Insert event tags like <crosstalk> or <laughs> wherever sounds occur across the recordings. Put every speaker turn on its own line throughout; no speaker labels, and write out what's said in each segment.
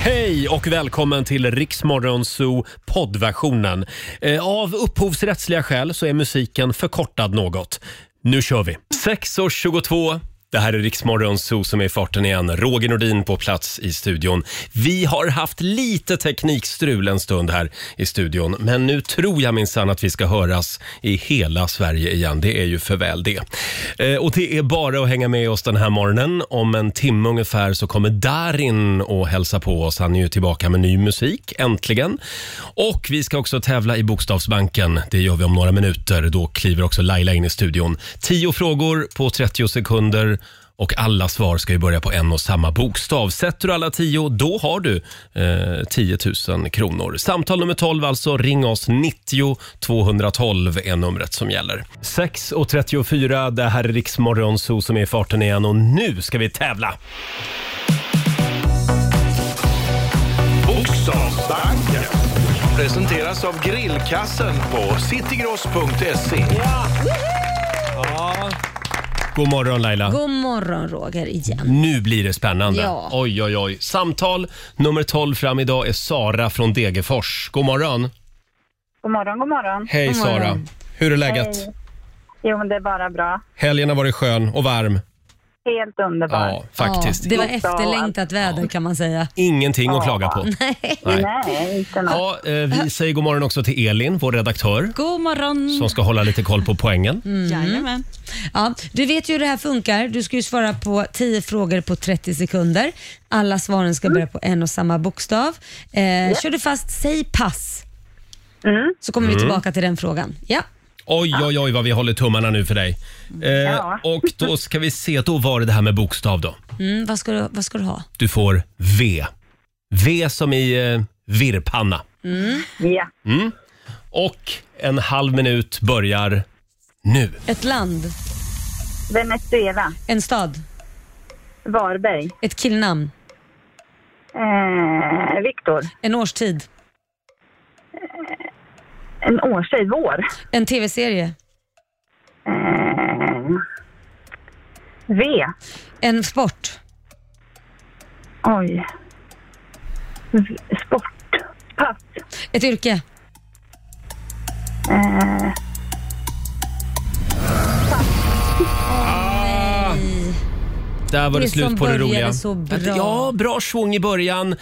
Hej och välkommen till Riksmorgon Zoo poddversionen. Eh, Av upphovsrättsliga skäl så är musiken förkortad något. Nu kör vi! 6.22. Det här är Riksmorgon Zoo som är i farten igen. Roger Nordin på plats i studion. Vi har haft lite teknikstrul en stund här i studion, men nu tror jag minsann att vi ska höras i hela Sverige igen. Det är ju för väl det. Eh, Och det är bara att hänga med oss den här morgonen. Om en timme ungefär så kommer Darin och hälsa på oss. Han är ju tillbaka med ny musik, äntligen. Och vi ska också tävla i Bokstavsbanken. Det gör vi om några minuter. Då kliver också Laila in i studion. 10 frågor på 30 sekunder. Och alla svar ska ju börja på en och samma bokstav. Sätter du alla tio, då har du eh, 10 000 kronor. Samtal nummer 12 alltså. Ring oss. 90 212 är numret som gäller. 6.34, det här är Riksmorgon Zoo som är i farten igen och nu ska vi tävla.
Bokstavsbanken presenteras av grillkassen på citygross.se.
God morgon Laila.
God morgon Roger igen.
Nu blir det spännande.
Ja.
Oj, oj, oj. Samtal nummer 12 fram idag är Sara från Degerfors. God morgon.
God morgon, god morgon.
Hej
God morgon.
Sara. Hur är läget?
Jo, men det är bara bra.
Helgen har varit skön och varm.
Helt underbart.
Ja, faktiskt.
Ja, det var
Ja.
efterlängtat väder kan man säga.
Ingenting att klaga
<laughs>
på. Nej.
Nej, inte något.
Ja, eh, vi säger god morgon också till Elin, vår redaktör,
God morgon!
som ska hålla lite koll på poängen.
Mm.
Jajamän.
Ja, du vet ju hur det här funkar. Du ska ju svara på 10 frågor på 30 sekunder. Alla svaren ska börja på en och samma bokstav. Eh, Kör du fast, säg pass.
Mm.
Så kommer
Mm.
vi tillbaka till den frågan. Ja. Mm.
Oj, oj, oj vad vi håller tummarna nu för dig. Eh,
Ja.
och
<laughs>
då ska vi se, då var det det här med bokstav då.
Mm, vad, ska du, vad ska du ha?
Du får V. V som i eh, virrpanna.
Ja.
Och en halv minut börjar nu.
Ett land,
Venezuela,
en stad,
Varberg,
ett killnamn,
eh, Viktor,
en årstid,
en årstid, vår.
en tv-serie,
Eh, v.
en sport,
Oj. V, sport. Pass.
ett yrke,
Eh,
Där var det,
Det
slut
som
på det
började
roliga.
så bra.
Ja, bra svung i början.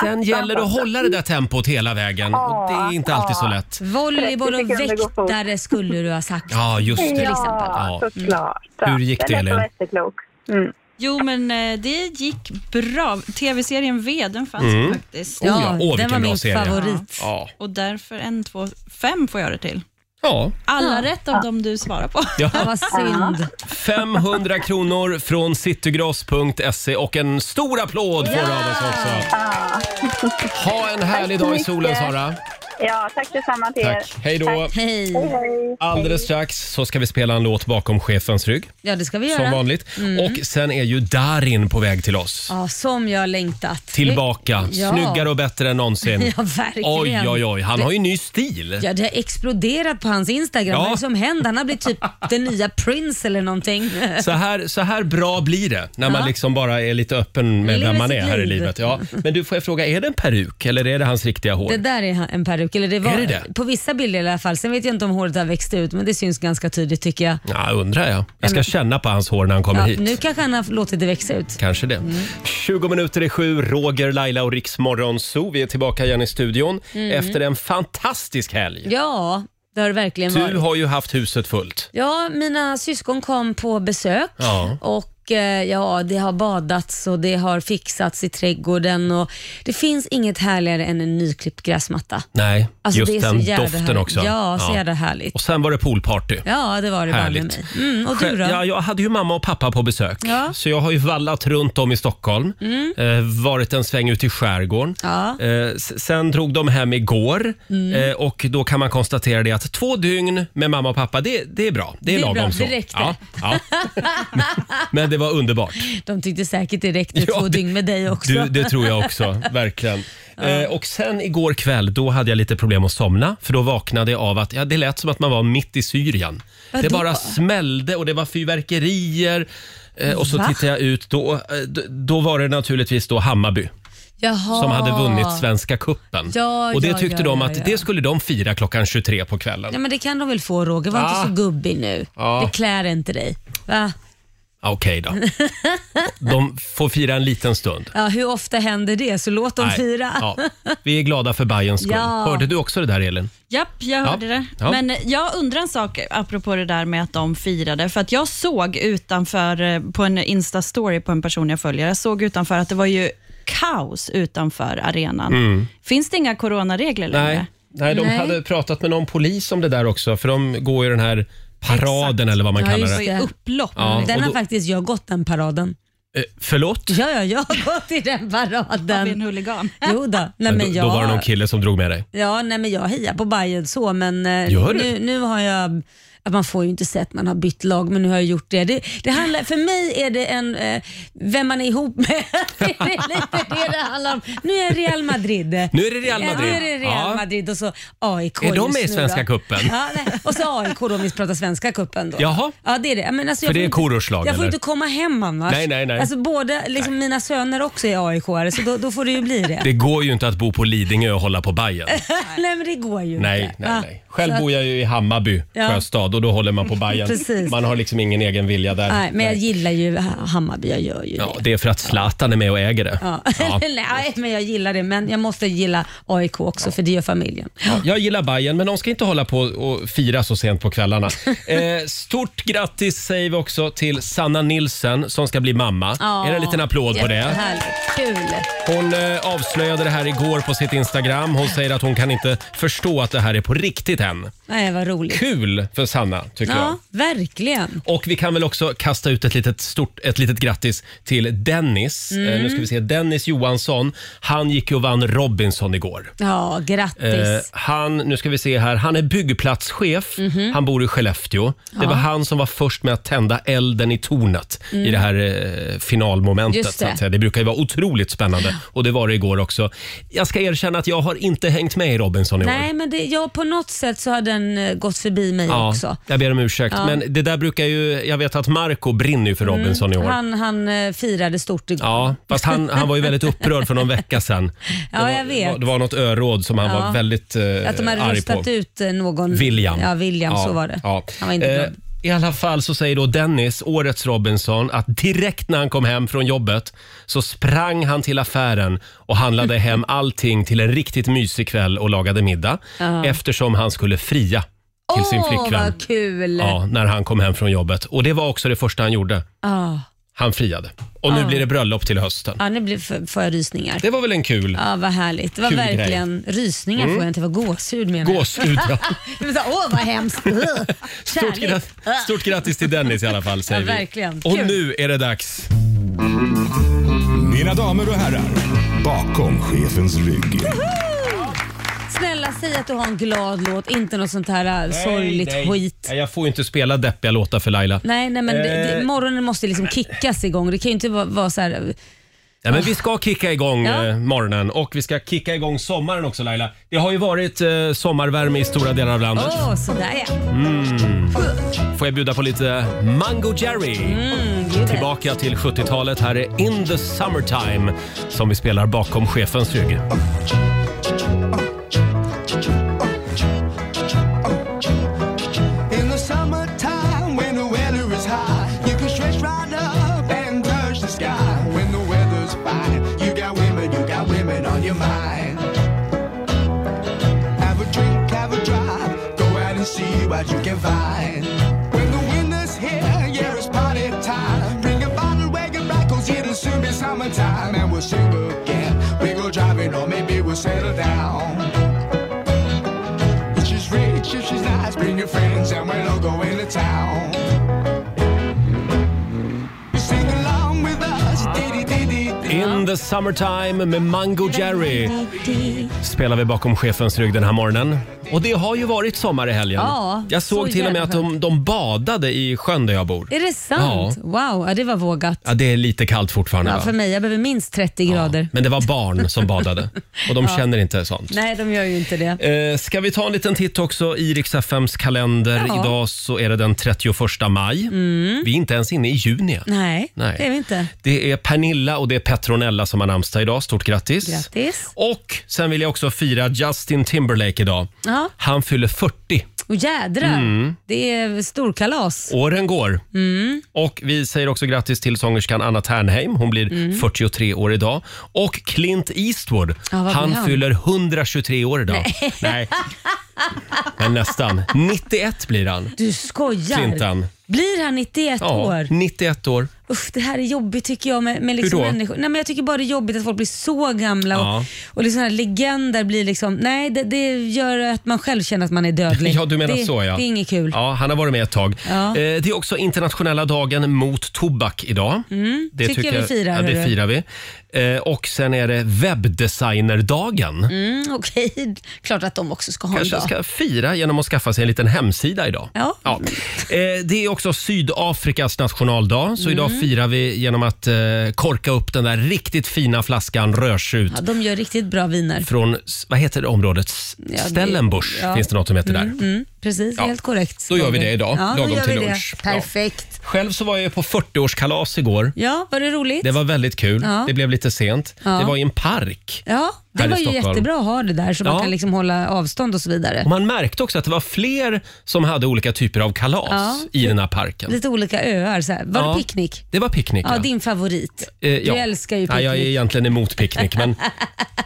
Sen gäller det att hålla det där tempot hela vägen. Och det är inte alltid så lätt.
volleyboll
30
och
sekunder går fort.
väktare skulle du ha sagt.
Ja, just det.
ja,
Ja. Mm.
såklart.
Hur gick det,
Den är så
Elin?
efterklok. Mm.
Jo, men eh, det gick bra. Tv-serien V, den fanns faktiskt.
Oh ja, åh,
den
vilken bra
var min
serie.
favorit.
Ja.
Och därför en, två, fem får jag det till.
ja.
Alla rätt av dem du svarar på.
Ja, vad synd.
500 kronor från citygross.se och en stor applåd får du av oss också. Ha en härlig
Tack så
dag i solen
mycket.
Sara.
Ja, tack detsamma till er.
Tack. Hej då.
Hej.
Oh.
Hej.
Alldeles strax så ska vi spela en låt bakom chefens rygg
Ja, det ska vi
som
göra.
vanligt. Och sen är ju Darin på väg till oss.
Ja, som jag längtat.
Tillbaka,
Ja.
snyggare och bättre än någonsin.
<laughs> Ja, verkligen.
Oj, oj, oj. Han har ju ny stil.
Ja, det har exploderat på hans Instagram.
Ja.
Vad är det som händer? Han har blivit
<laughs>
typ den nya Prince eller någonting.
Så här, så här bra blir det när man
Ja.
liksom bara är lite öppen med
Lever
vem man är
sitt
här i
liv.
livet. Ja. Men du, får jag fråga, är det en peruk eller är det hans riktiga hår?
Det där är han- en peruk, eller det var
Är det det?
på vissa bilder i alla fall. Sen vet jag inte om håret har växt ut, men det syns ganska tydligt tycker jag.
Ja, undrar jag. Jag ska känna på hans hår när han kommer
Ja,
hit.
nu Mm. kanske han har låtit det växa ut.
Kanske det. 20 minuter i sju, Roger, Laila och Riks Morgonzoo. Vi är tillbaka igen i studion
Mm.
efter en fantastisk helg.
Ja, det har det verkligen varit.
Du har ju haft huset fullt.
Ja, mina syskon kom på besök
Ja.
och eh, ja, det har badats och det har fixats i trädgården och det finns inget härligare än en nyklippt gräsmatta.
Nej,
Alltså, det är
just
så
den
jävla
doften
härligt.
också.
Ja, så
Ja.
jävla härligt.
Och sen var det poolparty.
Ja, det var det bara med
Härligt.
mig. Mm, och du då?
Ja, jag hade ju mamma och pappa på besök.
Ja. Mm.
Så jag har ju vallat runt om i Stockholm. Eh, varit en sväng ut i skärgården.
Ja. Mm.
Eh, s- sen drog de hem igår. Eh, och då kan man konstatera det att två dygn med mamma och pappa, det, det är bra. Det är,
Det är
lagom
bra,
så.
det räckte.
Ja,
<laughs>
ja. Men- Men det var underbart.
De tyckte säkert det räckte
Ja,
två
det-
dygn med dig också.
Du, det tror jag också,
<laughs>
verkligen. Eh, och sen igår kväll, då hade jag lite problem att somna. För då vaknade jag av att ja, det lät som att man var mitt i Syrien. Det
Vadå?
bara smällde och det var fyrverkerier. Eh, och så
Va?
tittade jag ut, då, eh, d- då var det naturligtvis då Hammarby.
Jaha.
som hade vunnit Svenska Kuppen.
Ja,
och det
ja,
tyckte
ja,
de
ja,
att
ja.
det skulle de fira klockan 23 på kvällen.
Ja, men det kan de väl få Roger, var
Ah.
inte så gubbig nu.
Ja.
Det klär inte dig. Va?
Ah, Okej
<laughs>
då. De får fira en liten stund.
Ja, hur ofta händer det? Så låt dem
Nej.
fira.
Ja. Vi är glada för Bajens skull.
Ja.
Hörde du också det där Elin?
<laughs> Japp, jag hörde det.
ja.
Men eh, jag undrar en sak apropå det där med att de firade. För att jag såg utanför, eh, på en Insta-story på en person jag följer, jag såg utanför att det var ju kaos utanför arenan. Finns det inga coronaregler längre?
Mm. Nej. Nej, de
Nej.
hade pratat med någon polis om det där också för de går ju den här paraden eller vad man
Ja,
kallar
just
det.
Det var ju upplopp.
Ja, och
Den har
då-
faktiskt jag gått den paraden.
Eh, förlåt?
Ja, ja, jag har gått i den
Av en
paraden.
huligan.
Jo då. Nej,
Men då,
men jag,
då var det någon kille som drog med dig.
ja, nej, men jag hejar på Bayern så, men eh,
Gör du?
nu, nu har jag att man får ju inte sett man har bytt lag, men nu har jag gjort det. det, det handlar, för mig är det en, eh, vem man är ihop med. <laughs> det är lite det det handlar om. Nu är jag Real Madrid.
Nu är det Real Madrid.
Ja, nu är det Real
Ja.
Madrid och så AIK
Är de
just
med i
nu
Svenska
då.
cupen?
Ja, nej. Och så AIK då om vi pratar Svenska cupen då.
Jaha.
Ja, det är det. Men alltså,
För
jag
det
får
är
inte-
korors lag,
Jag får
eller?
inte komma hem annars.
Nej, nej, nej.
Alltså båda, liksom mina söner också är aik så då, då får det ju bli det.
Det går ju inte att bo på Lidingö och hålla på Bajen.
Eh, nej men det går ju
Nej,
inte.
nej,
Va?
nej. Själv bor jag ju i Hammarby
Ah, Ja.
sjöstad och då håller
<laughs>
man på Bajen.
Precis.
Man har liksom ingen egen vilja där.
Nej, men jag gillar ju Ha- Hammarby, jag gör ju
Ja,
det.
det är för att Zlatan är med och äger det.
Ja. <laughs>
Ja.
nej, men jag gillar det, men jag måste gilla AIK också för det gör familjen.
Ja, jag gillar Bayern men de ska inte hålla på och fira så sent på
<laughs>
kvällarna. Eh, stort grattis säger vi också till Sanna Nilsen som ska bli mamma.
Ja.
Är det en liten applåd på det?
Jättehärligt. Kul.
Hon eh, avslöjade det här igår på sitt Instagram. Hon säger att hon kan inte förstå att det här är på riktigt än.
Nej, vad roligt.
Kul för Sanna tycker jag.
Ja, verkligen.
Och vi kan väl också kasta ut ett litet, stort, ett litet grattis till Dennis. Eh,
Mm.
nu ska vi se, Dennis Johansson. Han gick ju och vann Robinson igår.
Ja,
Eh,
grattis. Mhm.
han, nu ska vi se här, han är byggplatschef. Han bor i Skellefteå. Det var han som var först med att tända elden i tornet i det här eh, finalmomentet.
Mm. Just
Så att
det.
säga. det brukar ju vara otroligt spännande och det var det igår också. Jag ska erkänna att jag har inte hängt med i Robinson i
Nej,
år.
men det, ja, på något sätt så har den eh, gått förbi mig också.
jag ber om ursäkt. Men det där brukar ju, jag vet att Marco brinner ju för Robinson i år.
Mm, Han, han eh, firade stort igår.
Ja, fast han, han var ju väldigt upprörd för någon vecka sedan.
<laughs> Ja,
det var,
jag vet.
Det var något öråd som han
Ja.
var väldigt eh,
Att de hade
arg på.
röstat ut eh, någon.
William.
Ja, William.
Ja,
Så var det.
ja.
Han var inte
Eh,
glad.
I alla fall så säger då Dennis, årets Robinson, att direkt när han kom hem från jobbet så sprang han till affären och
<laughs>
handlade hem allting till en riktigt mysig kväll och lagade middag eftersom han skulle fria till sin
Åh,
flickvän
vad kul! Ja.
ja, när han kom hem från jobbet. Och det var också det första han gjorde.
Ah.
Han friade. Och nu blir det bröllop till hösten.
Ja, nu blir, f- får jag rysningar.
Det var väl en kul
Ja, vad härligt. Det var
Kul grej. Mm.
verkligen rysningar får jag inte. Det var gåshud menar jag. <laughs>
gåshud. ja.
Det var så här, Åh,
<laughs>
vad hemskt. Ugh.
Stort,
Kärlek.
grat- stort grattis till Dennis i alla fall säger
Ja, verkligen.
vi. Och
Kul.
nu är det dags.
Mina damer och herrar, bakom chefens rygg.
Snälla, säg att du har en glad låt, inte något sånt här nej, sorgligt
nej.
skit.
Nej, jag får ju inte spela deppiga låtar för Laila. Nej.
Nej, nej men det,
Eh.
det, morgonen måste liksom kickas igång. Det kan ju inte vara, vara så här...
men vi ska kicka igång
Ja.
eh, morgonen och vi ska kicka igång sommaren också Laila. Det har ju varit eh, sommarvärme i stora delar av landet.
Åh, sådär ja.
Får jag bjuda på lite Mango Jerry.
Mm.
Tillbaka till 70-talet. Här är In the Summertime som vi spelar bakom chefens rygg.
In the summertime, when the weather is hot, you can stretch right up and touch the sky. When the weather's fine, you got women, you got women on your mind. Have a drink, have a drive, go out and see what you can find. When the winter's here, yeah, it's party time. Bring a bottle, wagon rifles, it'll soon be summertime. And we'll sing again, we go driving, or maybe we'll settle down. If she's rich, if she's nice, bring your friends and we'll all go into town. You sing along with us, diddy diddy.
In the Summertime med Mango Jerry spelar vi bakom chefens rygg den här morgonen. Och det har ju varit sommar i helgen.
Ja,
jag såg
så
till och med
jävla
att de, de badade i sjön där jag bor.
Är det sant? Wow, ja, det var vågat.
Ja, det är lite kallt fortfarande
Ja,
va?
för mig, jag behöver minst 30 grader.
Men det var barn som
<laughs>
badade och de
Ja.
känner inte sånt.
Nej, de gör ju inte det.
Eh, ska vi ta en liten titt också i Rix FMs kalender?
Ja. Mm.
Idag så är det den 31 maj. Vi är inte ens inne i juni.
Nej,
Nej.
det är vi inte.
Det är Pernilla och det är Petronella som har namnsdag idag. Stort grattis.
Grattis.
Och sen vill jag också fira Justin Timberlake idag.
Ja,
Han fyller 40.
och jädrar.
Mm.
Det är storkalas.
Åren går.
Mm.
Och vi säger också grattis till sångerskan Anna Ternheim. Hon blir 43 år idag. Och Clint Eastwood.
Mm. Ja, vad blir
han,
han?
fyller 123 år idag.
Nej.
<laughs> Nej. Men nästan. 91 blir han.
Du skojar.
Clintan.
Blir han 91
Ja,
år?
91 år.
Usch, det här är jobbigt tycker jag med, med liksom
Hur då?
människor. Nej, men jag tycker bara det är jobbigt att folk blir så gamla
Ja.
och, och liksom här legender blir liksom, nej det, det gör att man själv känner att man är dödlig.
Ja, du menar
det,
så ja.
Det är inget kul.
Ja, han har varit med ett tag.
Ja.
Eh, det är också internationella dagen mot tobak idag.
Mm,
Det
tycker jag vi firar.
Ja, det
hörru.
firar vi. Eh, och sen är det webbdesignerdagen.
Mm, Okej, <laughs> klart att de också ska ha
Kanske
en dag.
ska fira genom att skaffa sig en liten hemsida idag.
Ja.
Eh, det är också Sydafrikas nationaldag, så idag
Mm.
firar vi genom att eh, korka upp den där riktigt fina flaskan rödtjut.
Ja, de gör riktigt bra viner.
Från, s- vad heter det området? S-
Ja, det-
Stellenbosch
ja.
finns det något som heter där.
Mm, mm, precis,
Ja.
helt korrekt.
Då gör vi
Roger.
det idag,
ja, då
lagom
gör
till
vi
lunch.
Det.
Ja.
Perfekt.
Själv så var jag på 40-årskalas igår.
Ja, var det roligt?
Det var väldigt kul.
Ja.
Det blev lite sent.
Ja.
Det var i en park.
ja,
här
det
i
var ju
Stockholm.
jättebra att ha det där så
Ja.
man kan liksom hålla avstånd och så vidare.
Och man märkte också att det var fler som hade olika typer av kalas
Ja.
i den här parken.
Lite olika öar. Så här. Var
Ja.
det picknick?
Det var picknick.
Ja, din favorit.
Eh, ja.
Du älskar ju
Ja,
picknick.
jag är egentligen emot picknick,
<laughs>
men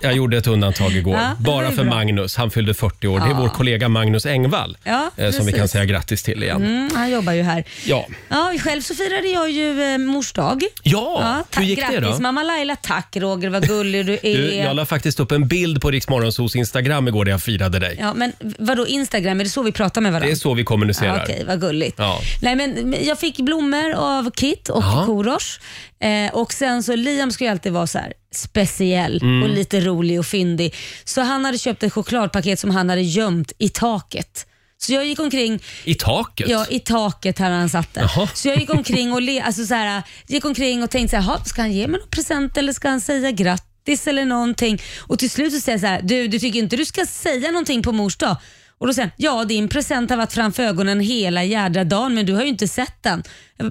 jag gjorde ett undantag igår.
Ja, det var
Bara
ju
för
bra.
Magnus. Han fyllde 40 år. Det är
Ja.
vår kollega Magnus Engvall
Ja,
eh, som vi
precis.
kan säga grattis till igen.
Mm, han jobbar ju här.
Ja.
Ja, själv så firade jag ju eh, mors dag.
Ja,
tack,
hur gick
grattis,
det då?
mamma Laila. Tack Roger, vad gullig du är.
<laughs> Du, jag la faktiskt upp en bild på Riksmorgonsos Instagram igår där jag firade dig.
Ja, men vadå Instagram, är det så vi pratar med varandra?
Det är så vi
Ja,
kommunicerar.
Okej, vad gulligt.
Ja.
Nej, men jag fick blommor av Kit och
Ja.
Korosh. Eh, och sen så, Liam ska ju alltid vara så här speciell
Mm.
och lite rolig och fyndig. Så han hade köpt ett chokladpaket som han hade gömt i taket. Så jag gick omkring
I taket?
Ja, i taket här han satt där.
Jaha.
Så jag gick omkring och, le, alltså så här, gick omkring och tänkte så här, "Jaha, ska han ge mig någon present eller ska han säga grattis eller någonting? Och till slut så säger jag så här, du, du tycker inte du ska säga någonting på mors dag? Och då säger han, ja din present har varit framför ögonen hela jädra dagen men du har ju inte sett den.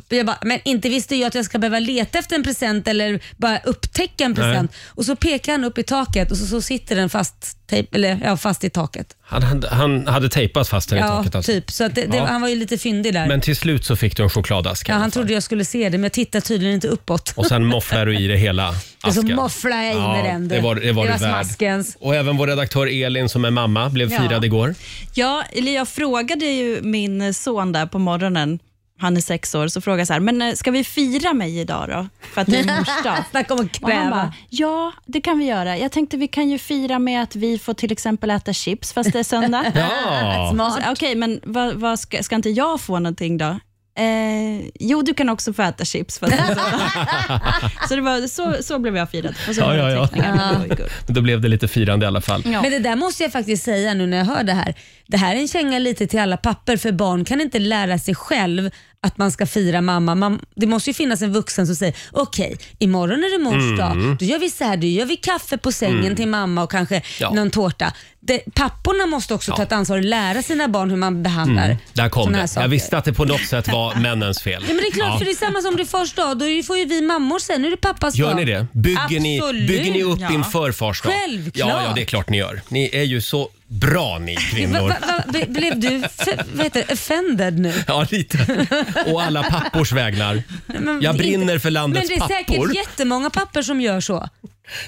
Jag bara, men inte visste jag att jag ska behöva leta efter en present eller bara upptäcka en present. Och så pekar han upp i taket och så, så sitter den fast, tejp, eller, ja, fast i taket.
Han, han, han hade tejpat fast den i
Ja,
taket alltså.
typ. Så att det, det,
Ja.
han var ju lite fyndig där.
Men till slut så fick du en chokladask. i
Ja,
alla fall.
han trodde jag skulle se det, men jag tittar tydligen inte uppåt. <laughs>
Och sen mofflar du i det hela
Och så
asken.
mofflade jag i mig den. du.
det var, det var,
det
du värd.
smaskens.
Och även vår redaktör Elin som är mamma blev
Ja.
firad igår.
Ja, eller jag frågade ju min son där på morgonen, han är sex år, så frågade jag så här, men eh, ska vi fira mig idag då? För att det är
<laughs>
mors dag.
Snacka om att
Och han bara,
kväva.
ja det kan vi göra. Jag tänkte vi kan ju fira med att vi får till exempel äta chips fast det är söndag.
<laughs> Ja.
Och så, Okej, men vad, vad ska, ska inte jag få någonting då? Eh, jo, du kan också få äta chips. Fast det är
<laughs>
söndag." så, det var, så, så blev jag firad. Och så
Ja,
var det
ja, ja.
teckningar. Det var ju gulligt.
Då blev det lite firande i alla fall.
Ja.
Men det där måste jag faktiskt säga nu när jag hör det här. Det här är en känga lite till alla papper för barn kan inte lära sig själv att man ska fira mamma. Man, det måste ju finnas en vuxen som säger okej, imorgon är det
Mm.
mors dag. Då gör vi så här, då gör vi kaffe på sängen till mamma och kanske
Ja.
någon tårta. Det, papporna måste också ta ett ansvar och lära sina barn hur man behandlar
Mm. Där kom
såna här
det.
saker.
Jag visste att det på något sätt var männens fel.
<laughs> Ja, men det är klart, för det är samma som det är fars dag. Då är- får ju vi mammor sen. Nu är det pappas
Gör
dag.
ni det? Bygger ni,
Absolut.
bygger ni upp
Ja.
inför fars dag?
Självklart.
Ja, ja, det är klart ni gör. Ni är ju så bra
<laughs>
ni
Va,
kvinnor.
va, va, be- blev du f- vad heter det, offended nu?
Ja, lite. Och alla pappors vägnar.
Men
Jag
inte-
brinner för landets
Men det är
pappor.
säkert jättemånga papper som gör så.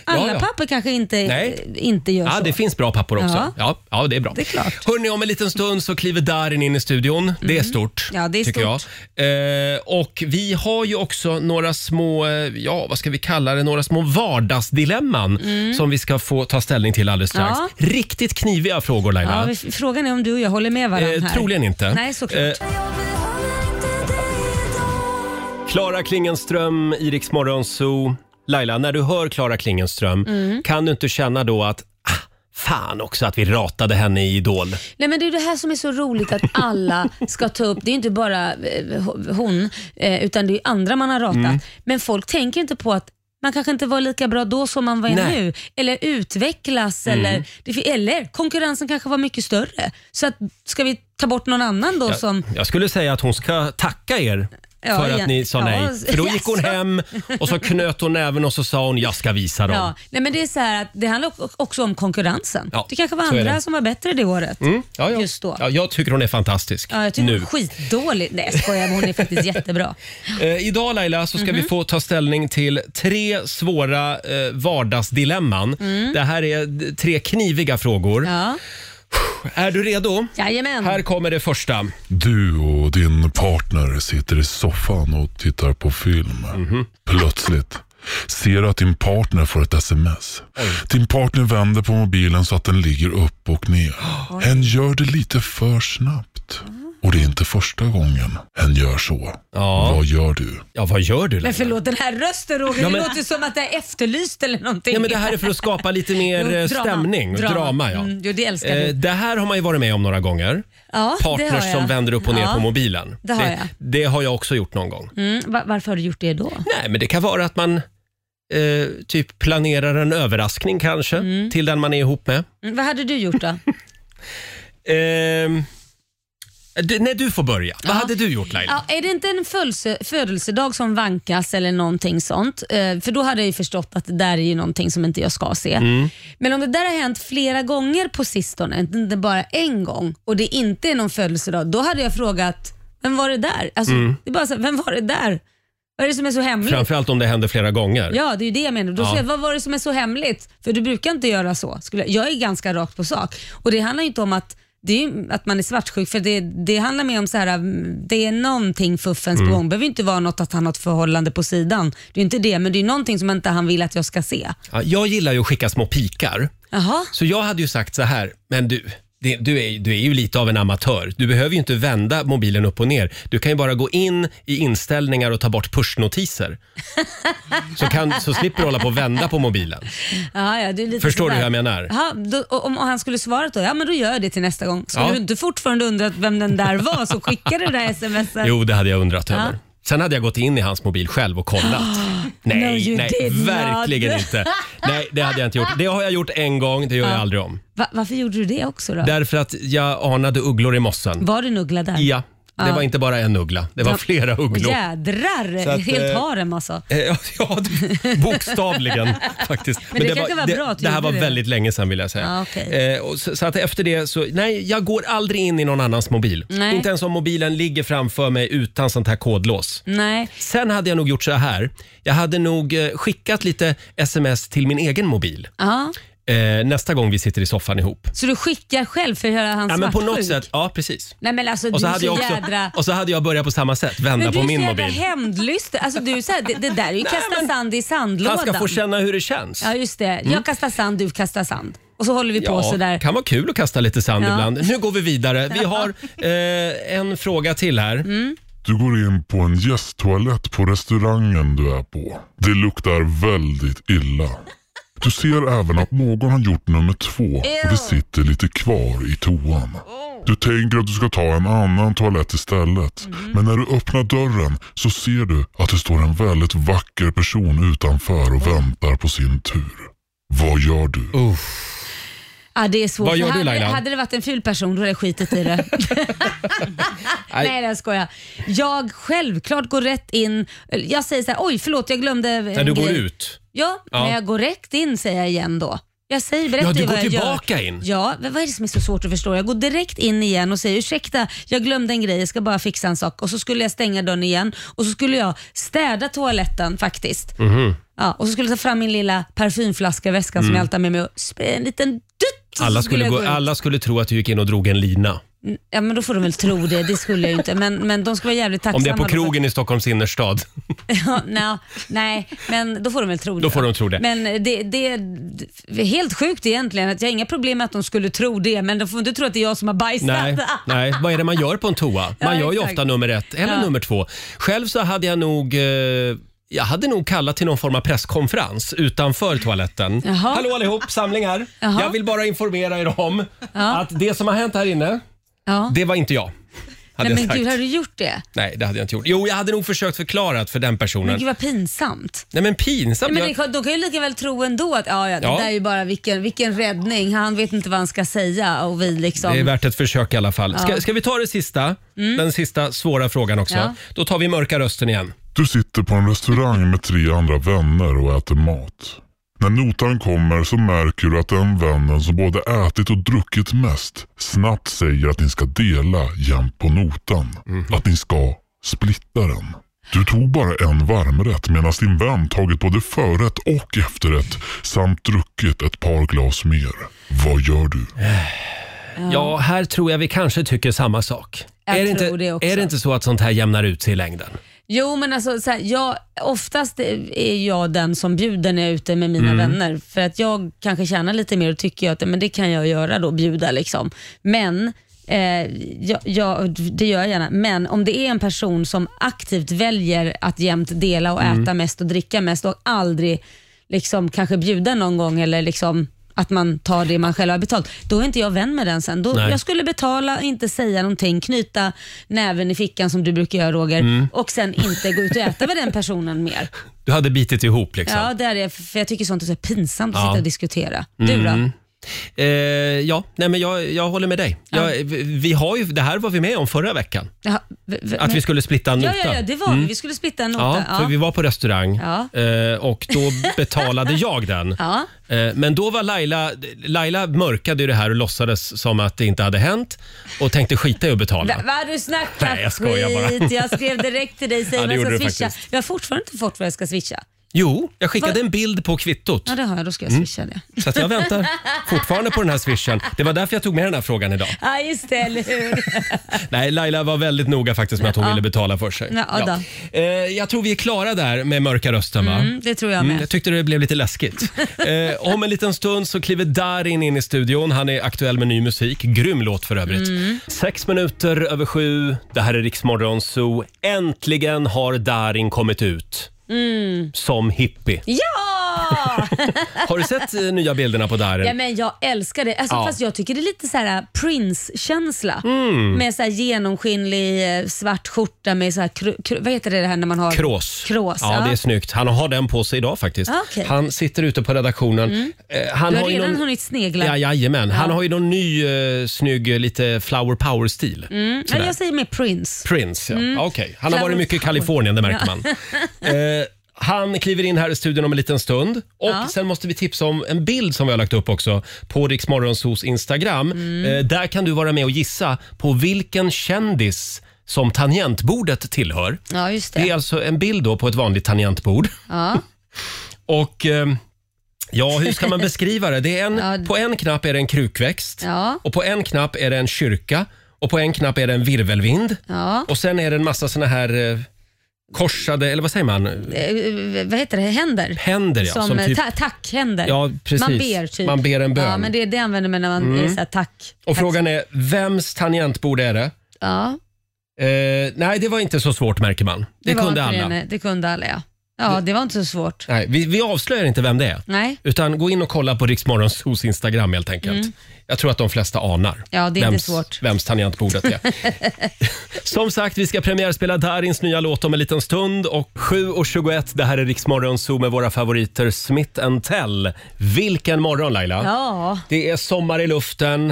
Alla
Ja, ja.
papper kanske inte,
Nej.
inte gör
Ja,
så.
det finns bra pappor också. Ja.
Ja.
Ja, det är bra.
Det är klart. Mm.
Hörrni, om en liten stund så kliver Darin in i studion. Det är stort,
Ja, det är
tycker jag. Eh, och vi har ju också några små, eh, ja vad ska vi kalla det, några små vardagsdilemman som vi ska få ta ställning till alldeles strax.
Mm. Ja.
Riktigt kniviga frågor Laila.
ja, men f- frågan är om du och jag håller med varandra
Eh,
här.
troligen inte.
Nej, såklart.
Eh, Klara Klingenström, Iriks
Mm.
morgonzoo. Laila, när du hör Klara Klingenström, kan du inte känna då att ah, Fan också att vi ratade henne i Idol.
Nej men det är det här som är så roligt att alla ska ta upp. Det är ju inte bara eh, ho- hon, eh, utan det är ju andra man har ratat.
Mm.
Men folk tänker inte på att man kanske inte var lika bra då som man var
Nej. Mm.
nu. Eller utvecklas. Eller, det, fi- eller konkurrensen kanske var mycket större. Så att, ska vi ta bort någon annan då som...
Jag skulle säga att hon ska tacka er
Ja,
för att
ja.
ni sa
Ja,
nej. För
<laughs>
då gick
jaså.
hon hem och så knöt hon näven och så sa hon jag ska visa dem.
Ja, nej men det är så här att det handlar o- också om konkurrensen.
Ja,
det kanske var
så är det. Mm.
andra som var bättre det året.
Ja, ja.
Just då.
Ja, jag tycker hon är fantastisk.
Ja, jag tycker
nu.
hon är skitdålig. Nej jag skojar, men hon är
<laughs>
faktiskt jättebra.
Eh, idag Laila så ska vi
Mhm.
få ta ställning till tre svåra eh, vardagsdilemman. Det här är d- tre kniviga frågor.
Mm. Ja.
Är du redo?
Jajamän.
Här kommer det första.
Du och din partner sitter i soffan och tittar på film. Plötsligt ser du att din partner får ett sms. Din partner vänder på mobilen så att den ligger upp och ner. Hen gör det lite för snabbt. Och det är inte första gången hen gör så.
Ja.
Vad gör du?
Ja, vad gör du
Men
Laila?
förlåt, den här rösten Roger,
Ja, men-
det låter som att det är efterlyst eller någonting.
Ja, men det här är för att skapa
<laughs>
lite mer eh,
Drama.
stämning. Drama,
Drama.
drama ja.
Mm, jo, det älskar
Eh,
vi.
det här har man ju varit med om några gånger.
Ja, det har
Partners
jag.
som vänder upp och ner
Ja.
på mobilen.
det har
det,
jag.
det har jag också gjort någon gång.
Mm, va- varför har du gjort det då?
Nej, men det kan vara att man eh, typ planerar en överraskning kanske till den man är ihop med.
Mm, vad hade du gjort då?
Ehm, du, nej, du får börja. Vad
Ja.
hade du gjort Laila?
Ja, är det inte en födelse, födelsedag som vankas eller någonting sånt? Eh, för då hade jag ju förstått att det där är ju någonting som inte jag ska se.
Mm.
Men om det där har hänt flera gånger på sistone, inte bara en gång, och det inte är någon födelsedag, då hade jag frågat, vem var det där? Alltså,
Mm.
det är bara så, här, vem var det där? Vad är det som är så hemligt?
Framförallt om det händer flera gånger.
Ja, det är ju det jag menar. Då
Ja.
säger jag, vad var det som är så hemligt? För du brukar inte göra så. Skulle jag, jag är ganska rakt på sak. Och det handlar ju inte om att det är ju att man är svartsjuk, för det, det handlar mer om så här, mm, det är någonting fuffens
Mm.
på gång. Det behöver ju inte vara något att han har ett förhållande på sidan. Det är ju inte det, men det är ju någonting som inte han vill att jag ska se.
Ja, jag gillar ju att skicka små pikar.
Jaha,
Så jag hade ju sagt så här, men du, det, du, är, du är ju lite av en amatör. Du behöver ju inte vända mobilen upp och ner. Du kan ju bara gå in i inställningar och ta bort pushnotiser. <laughs> Så, kan, så slipper du hålla på och vända på mobilen.
ja, ja, det är lite
Förstår du
sådär.
hur jag menar?
Jaha, då, och om och han skulle svara då, ja men då gör jag det till nästa gång. Skulle
Ja.
du inte fortfarande undra vem den där var som skickade
<laughs>
det där smset?
Jo, det hade jag undrat
Ja.
över. Sen hade jag gått in i hans mobil själv och kollat. <gasps> nej,
you
nej,
did not.
verkligen inte. Nej, det hade jag inte gjort. Det har jag gjort en gång, det gör jag aldrig om.
Va, varför gjorde du det också då?
Därför att jag anade ugglor i mossen.
Var det en uggla där?
Ja, det
Ja.
var inte bara en uggla, det var
Ja.
flera ugglor.
Jädrar,
Så att,
helt
eh,
harem alltså.
Eh, Ja, <laughs> ja, det-
<laughs>
bokstavligen faktiskt.
Men det kanske var bra att
det,
du
det här
gjorde
var
det.
väldigt länge sedan vill jag säga.
Ja, okej.
eh, och så, så att efter det så, nej, jag går aldrig in i någon annans mobil.
Nej.
Inte ens om mobilen ligger framför mig utan sånt här kodlås.
Nej,
Sen hade jag nog gjort så här. Jag hade nog eh, skickat lite sms till min egen mobil
ja.
eh, nästa gång vi sitter i soffan ihop.
Så du skickar själv för att göra han
Ja, men på
svartsjuk?
något sätt, ja precis.
Nej men alltså
Och så,
du är
hade
så
jag också,
jädra...
och så hade jag börjat på samma sätt, vända
Men du
på
är så
min
jädra
mobil.
hämndlysten. Alltså, du är så här, det, det
<laughs>
där är ju kasta sand i sandlådan.
Han ska få känna hur det känns.
Ja just det. Jag kastar sand, du kastar sand. Och så håller vi på sådär.
kan vara kul att kasta lite sand
Ja.
ibland. Nu går vi vidare. Vi har eh, en fråga till här.
Mm.
Du går in på en gästtoalett på restaurangen du är på. Det luktar väldigt illa. Du ser även att någon har gjort nummer två och det sitter lite kvar i toan. Du tänker att du ska ta en annan toalett istället. Men när du öppnar dörren så ser du att det står en väldigt vacker person utanför och väntar på sin tur. Vad gör du?
Ja, det är svårt.
Vad gör
För
du,
hade,
Laila?
hade det varit en ful person då hade jag
<laughs>
skitit i det. Nej jag skojar. Jag självklart går rätt in. Jag säger så här, oj förlåt jag glömde en
När du går
grej."
ut.
Ja,
Ja.
men jag går direkt in säger jag igen då. Jag säger, berättar
Ja, du
ju
går
vad jag
tillbaka
gör.
in.
Ja, men vad är det som är så svårt att förstå? Jag går direkt in igen och säger ursäkta, jag glömde en grej, jag ska bara fixa en sak. Och så skulle jag stänga dörren igen och så skulle jag städa toaletten faktiskt.
Mhm.
Ja, och så skulle jag ta fram min lilla parfymflaska i väskan som jag alltid har med mig och spraya en liten dutt. och så
Mm. Alla skulle,
jag
gå,
ut.
alla skulle tro att du gick in och drog en lina.
Ja, men då får de väl tro det. Det skulle jag ju inte. Men, men de ska vara jävligt tacksamma.
Om det är på
då för-
krogen i Stockholms innerstad. <laughs>
Ja, nej, nej, men då får de väl tro det.
Då får de tro <laughs> det.
Men det, det är helt sjukt egentligen att jag har inga problem med att de skulle tro det, men de får inte tro att det är jag som har bajsat.
Nej, nej, vad är det man gör på en toa? Man
<laughs> Ja,
gör ju
exakt.
ofta nummer ett eller
Ja.
nummer två. Själv så hade jag nog eh, Jag hade nog kallat till någon form av presskonferens utanför toaletten.
Jaha.
Hallå allihop, samling här.
Jaha.
Jag vill bara informera er om att det som har hänt här inne,
<laughs> Ja.
det var inte jag. Hade
Nej,
jag
men
sagt.
gud, har du gjort det?
Nej, det hade jag inte gjort. Jo, jag hade nog försökt förklara för den personen.
Men gud vad pinsamt.
Nej men pinsamt.
Nej, men
Jag-
det, kan- de kan ju lika väl tro ändå att ja, ja, det
Ja.
där är ju bara vilken, vilken räddning. Han vet inte vad han ska säga och vi liksom.
Det är värt ett försök i alla fall. Ska, ska vi ta det sista? Den sista svåra frågan också.
Mm. Ja.
Då tar vi mörka rösten igen.
Du sitter på en restaurang med tre andra vänner och äter mat. När notan kommer så märker du att den vännen som både ätit och druckit mest snabbt säger att ni ska dela jämt på notan. Att ni ska splitta den. Du tog bara en varmrätt medan din vän tagit både förrätt och efterrätt samt druckit ett par glas mer. Vad gör du?
Ja. här tror jag vi kanske tycker samma sak.
Jag
är, det
tror
inte,
det också.
är det inte så att sånt här jämnar ut sig i längden?
Jo men alltså så här, jag, oftast är jag den som bjuder när jag är ute med mina vänner. För att jag kanske tjänar lite mer och tycker jag att men det kan jag göra då, bjuda liksom. Men Eh, jag, jag, det gör jag gärna, men om det är en person som aktivt väljer att jämt dela och äta mest och dricka mest och aldrig liksom kanske bjuda någon gång eller liksom att man tar det man själv har betalt, då är inte jag vän med den sen. Då,
Nej.
jag skulle betala, inte säga någonting, knyta näven i fickan som du brukar göra Roger
Mm.
och sen inte gå ut och äta med den
<laughs>
personen mer.
Du hade bitit ihop liksom.
Ja, det är det, för jag tycker sånt är så pinsamt att
Ja.
sitta och diskutera. Du då?
Eh, ja, nej men jag, jag håller med dig. Jag, vi, vi har ju, det här var vi med om förra veckan.
Jaha, v- v-
Att
men-
vi skulle splitta en
Ja,
nota.
ja, ja, det var vi. Vi skulle splitta en
Ja,
nota.
för vi var på restaurang
Ja.
eh, och
<laughs>
då betalade jag den.
Ja.
Eh, Men då var Laila, Laila mörkade ju det här och låtsades som att det inte hade hänt och tänkte skita i att betala.
Va- Vad du snackar
Nej, jag skojar bara.
skit. Jag skrev
<laughs>
direkt till dig, säg
Ja, det
vad jag
gjorde
ska
du
swisha.
faktiskt.
Jag har fortfarande inte fått vad jag ska swisha.
Jo, jag skickade
Va?
en bild på kvittot.
Ja, det har jag. Då ska jag swisha det.
Så att jag väntar
<laughs>
fortfarande på den här swishen. Det var därför jag tog med den här frågan idag.
Ja, just det. Eller hur?
Mm. Nej, Laila var väldigt noga faktiskt med att hon ville betala för sig.
Ja, då.
Eh, Jag tror vi är klara där med mörka rösten va?
Mm, det tror jag
Mm,
med.
jag tyckte det blev lite
<laughs>
läskigt. Eh, om en liten stund så kliver Darin in i studion. Han är aktuell med ny musik. Grym låt för övrigt.
Mm.
Sex minuter över sju. Det här är Riksmorgon Zoo. Äntligen har Darin kommit ut.
Mm.
Som hippie.
Ja!
Har du sett eh, nya bilderna på Darin?
ja men jag älskar det. Alltså,
Ja.
Fast jag tycker det är lite så här äh, Prince-känsla.
Mm.
Med så här genomskinlig eh, svart skjorta med så här, kru- kru- vad heter det här när man har...
Krås.
Krås,
ja,
ja.
det är snyggt. Han har den på sig idag faktiskt.
Ah, okej. Mm.
Han sitter ute på redaktionen. Eh, Han
Du har
ju
redan hunnit snegla. Mm,
Ja, jajamän. Han har ju någon ny eh, snygg eh, lite flower power-stil.
Mm, men jag säger med Prince.
Prince, ja.
Mm.
Ah, Okej. Han har
Flower
varit mycket i
power.
Kalifornien, det märker man. eh, han kliver in här i studion om en liten stund. Och Sen måste vi tipsa om en bild som vi har lagt upp också på Rix Morgonzoos Instagram.
Mm.
Eh, där kan du vara med och gissa på vilken kändis som tangentbordet tillhör.
Ja, just
Det
det.
är alltså en bild då på ett vanligt tangentbord.
Ja.
Och ehm, ja, hur ska man beskriva det? det är en,
<laughs> Ja, d-
På en knapp är det en krukväxt.
Ja.
Och på en knapp är det en kyrka. Och på en knapp är det en virvelvind.
Ja.
Och sen är det en massa såna här eh, korsade, eller vad säger man?
Eh, eh, vad heter det? Händer?
Händer ja.
Som, eh,
som typ,
ta- tackhänder.
Ja, precis.
Man ber typ.
Man ber en bön. Mm.
Ja, men det är det jag använder mig när man är så här, tack.
och
tack.
frågan är, vems tangentbord är det?
Ja,
Eh, nej, det var inte så svårt märker man. Det,
var
kunde
inte
alla.
Det, det kunde alla, ja. Ja, det var inte så svårt.
Nej, vi, vi avslöjar inte vem det är.
Nej,
Utan gå in och kolla på Riksmorgons hos Instagram helt enkelt. Jag tror att de flesta anar
Mm. Ja, det är inte
vems,
svårt.
vems tangentbordet
<laughs>
är. Som sagt, vi ska premiärspela Darins nya låt om en liten stund. Och 7.21, det här är Riksmorgon Zoo med våra favoriter Smith Tell. Vilken morgon Laila!
ja. Mm.
Det är sommar i luften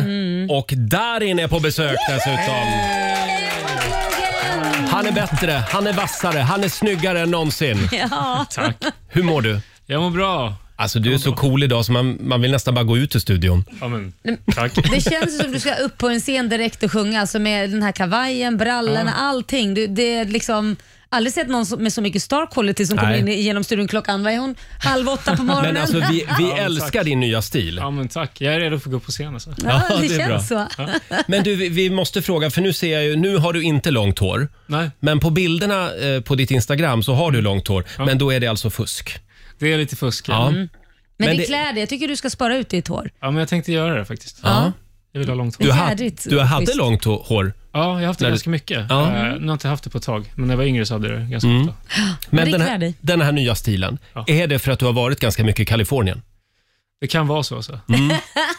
och Darin är på besök dessutom. Han är bättre, han är vassare, han är snyggare än någonsin.
ja.
Tack.
Hur mår du?
Jag mår bra.
Alltså du är så cool idag så man, man vill nästan bara gå ut ur studion.
Ja, men, tack.
Det känns ju som du ska upp på en scen direkt och sjunga, alltså med den här kavajen, brallorna, allting. Du, det är liksom... Aldrig sett någon som- med så mycket star quality som kommer
Nej.
in i- genom studion klockan, vad är hon? Halv åtta på
<laughs>
morgonen?
Men
<laughs>
alltså vi, vi
tack.
älskar din nya stil.
<laughs> Ja, men tack. Jag är redo för att gå upp på scen. Alltså.
ja,
Ja,
det,
det är
känns så.
Men du, vi- vi måste fråga, för nu ser jag ju, nu har du inte långt hår.
Nej,
Men på bilderna eh, på ditt Instagram så har du långt hår, men då är det alltså fusk. Mm.
det är lite fusk.
Ja.
Ja.
Men,
Men
det
det-
klär dig. Jag tycker du ska spara ut ditt hår.
ja, men jag tänkte göra det faktiskt.
Ja.
Jag vill ha långt hår.
Du, ha,
jädrigt
du hade
schysst.
långt hå- hår
Ja, Ja, jag har haft det
När du-
ganska mycket.
Ja.
Eh, nu har jag inte haft det på ett tag, men när jag var yngre så hade jag det ganska ofta.
Men
det
den
klär
här,
dig.
den här nya stilen,
Ja.
är det för att du har varit ganska mycket i Kalifornien?
Det kan vara så. så. <laughs>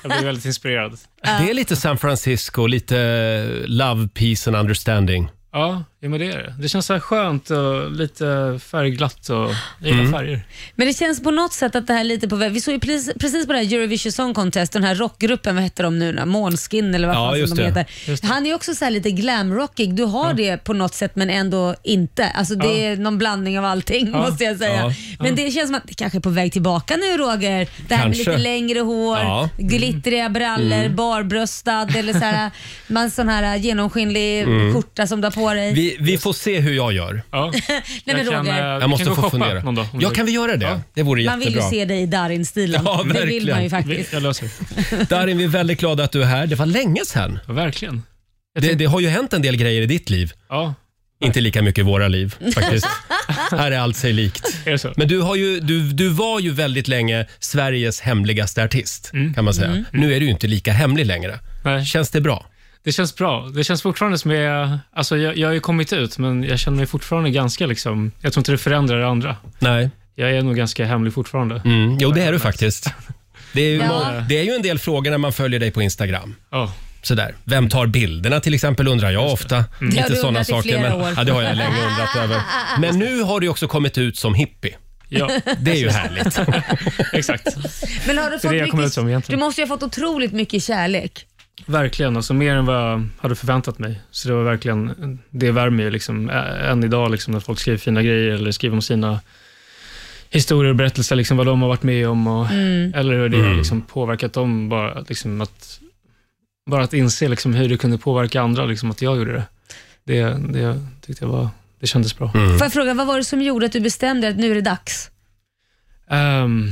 Jag blev väldigt inspirerad.
Det är lite San Francisco, lite eh, love, peace and understanding.
Ja, ja, men det är det. Det känns så här skönt och lite färgglatt. Och, jag gillar färger.
Men det känns på något sätt att det här är lite på väg. Vi såg ju precis, precis på det här Eurovision Song Contest, den här rockgruppen, vad heter de nu? då? Månskin eller vad
Ja,
fan
just
som de
det.
heter. Han är ju också så här lite glamrockig. Du har det på något sätt men ändå inte. Alltså det är någon blandning av allting måste jag säga.
Ja.
Men det känns som att det kanske är på väg tillbaka nu Roger. Det här
Kanske.
med lite längre hår,
Ja. Mm.
glittriga brallor, barbröstad eller
<laughs>
så här, man sån här genomskinlig skjorta som du har på dig.
Mm. Vi, vi får se hur jag gör.
Ja.
Nej, men
jag kan,
Roger.
eh, vi
Jag måste
kan gå
få
och shoppa
fundera.
Någon dag, om
ja,
du-
kan vi göra det?
Ja.
Det vore
Man vill ju
jättebra.
se dig i Darin-stilen.
Ja,
det vill
verkligen.
man ju
Vi-
faktiskt.
Jag löser det.
Darin, vi är väldigt glada att du är här. Det var länge sedan.
Ja, verkligen. Jag
Det,
tänkte-
det har ju hänt en del grejer i ditt liv.
Ja,
Inte lika mycket i våra liv faktiskt. här är allt sig likt.
är det så?
Men du, har ju, du, du var ju väldigt länge Sveriges hemligaste artist kan man säga. Nu är du ju inte lika hemlig längre.
Nej,
Känns det bra?
det känns bra. Det känns fortfarande som jag... Alltså, jag, jag har ju kommit ut, men jag känner mig fortfarande ganska... liksom... Jag tror inte det förändrar det andra.
Nej.
Jag är nog ganska hemlig fortfarande.
Mm. Jo, det är du faktiskt. Det är, ju
Ja.
må- det är ju en del frågor när man följer dig på Instagram.
Ja.
Sådär. Vem tar bilderna till exempel undrar jag ofta.
Det har
Lite
du
sådana
undrat i
saker.
flera
Men,
år.
ja, det har jag länge undrat över. Men nu har du också kommit ut som hippie.
ja,
<laughs> Det är ju härligt.
exakt.
Men har du
är
fått
det jag kommer ut som
mycket, du
egentligen.
måste ju ha fått otroligt mycket kärlek.
Verkligen. Alltså, mer än vad jag hade förväntat mig. Så Det var verkligen, det värmer ju liksom, ä- än idag liksom, när folk skriver fina grejer eller skriver om sina historier och berättelser, liksom, vad de har varit med om och, eller hur det har liksom, påverkat dem. Bara, liksom, att, bara att inse liksom, hur det kunde påverka andra, liksom, att jag gjorde det. Det, det tyckte jag var, det kändes bra.
Får jag fråga, vad var det som gjorde att du bestämde att nu är det dags?
Ehm,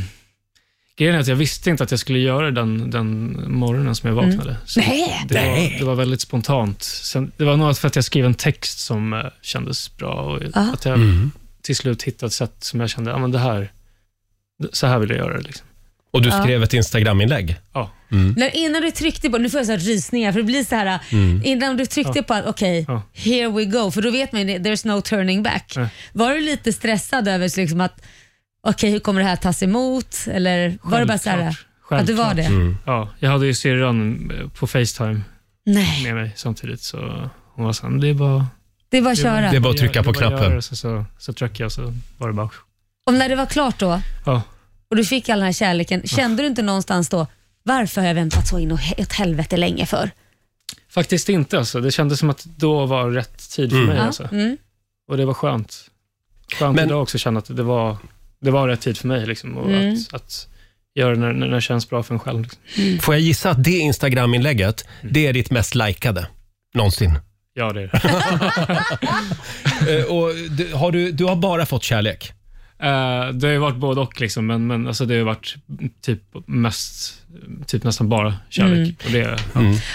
grejen är att jag visste inte att jag skulle göra den, den morgonen som jag vaknade. Så
Nej.
Det, var, det var väldigt spontant. Sen, det var nog för att jag skrev en text som eh, kändes bra och
Ja.
att jag
Mm.
Mm.
till slut hittade ett sätt som jag kände, ja men det här, så här vill jag göra det. Liksom.
Och du skrev ett Instagram-inlägg.
Ja.
När, innan du tryckte på, nu får jag så här rysningar för det blir så här, innan du tryckte på att okej,
Mm. Ja.
here we go, för då vet man ju det- there's no turning back.
Nej.
Var du lite stressad över så liksom att okej, hur kommer det här tas emot? Eller var det bara så här?
Självklart.
Att du var det?
Mm.
Ja, jag hade ju syrran eh, på Facetime
Nej,
med mig samtidigt, så hon var såhär, det är bara
det är bara att köra.
Det är bara att trycka
det
på
är bara att göra
knappen.
det. Så, så, så tryckte jag, så var det bara...
Och när det var klart då
Ja.
och du fick all den här kärleken, kände du inte någonstans då varför har jag väntat så in och he- ett helvete länge för?
Faktiskt inte. Alltså. Det kändes som att då var rätt tid för mig.
Ja,
Alltså.
mm.
Och det var skönt. Skönt
Men-
idag också att känna att det var, det var rätt tid för mig. Liksom. Och
Mm.
att, att göra det när, när det känns bra för en själv. Liksom.
Får jag gissa att det Instagram-inlägget, det är ditt mest likade någonsin?
Ja, det är det.
Eh, och du, har du, du har bara fått kärlek?
<laughs> Eh, det har ju varit både och, liksom, men, men alltså, det har ju varit typ, mest, typ nästan bara kärlek. Och det, ja.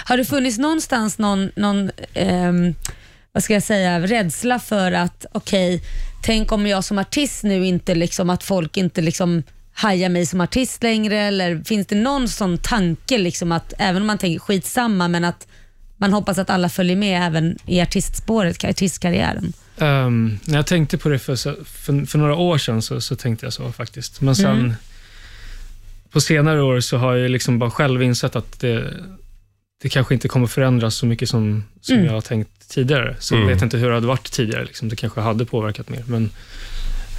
Har det funnits någonstans någon, någon ehm, vad ska jag säga, rädsla för att okej, tänk om jag som artist nu inte liksom, att folk inte liksom hajar mig som artist längre eller finns det någon sån tanke liksom att även om man tänker skitsamma men att man hoppas att alla följer med även i artistspåret, artistkarriären.
Ehm, när jag tänkte på det för, så- för, för några år sedan så, så tänkte jag så faktiskt.
Mm.
Men sen på senare år så har jag liksom bara själv insett att det, det kanske inte kommer förändras så mycket som, som
Mm.
jag har tänkt tidigare. Så jag vet inte hur det hade varit tidigare. Liksom. Det kanske hade påverkat mer. Men,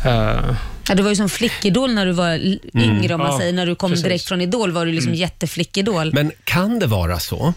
eh,
Ja, du var ju som flickidol när du var l- yngre om man
Ja,
säger. När du kom
precis.
direkt från idol var du liksom jätteflickidol.
Men kan det vara så?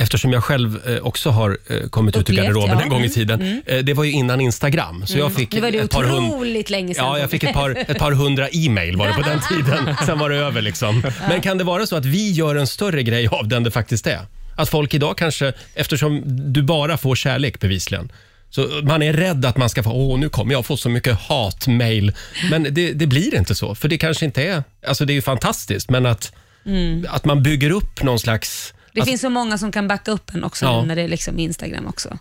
Eftersom jag själv eh, också har eh, kommit ut ur
Upplevt,
garderoben
ja.
en gång i
Mm,
tiden. Eh, Det var ju innan Instagram, så jag fick
nu var det
ett par hund...
otroligt länge sedan.
Ja, jag fick ett par, ett par hundra e-mail var det på
<laughs>
den tiden. Sen var det över liksom. Men kan det vara så att vi gör en större grej av det än det faktiskt är? Att folk idag kanske, eftersom du bara får kärlek bevisligen, så man är rädd att man ska få, åh nu kommer jag få så mycket hatmail. Men det, det blir inte så, för det kanske inte är, alltså det är ju fantastiskt, men att,
Mm.
att man bygger upp någon slags
Det
Alltså-
finns så många som kan backa upp en också
Ja.
nu när det är liksom Instagram också.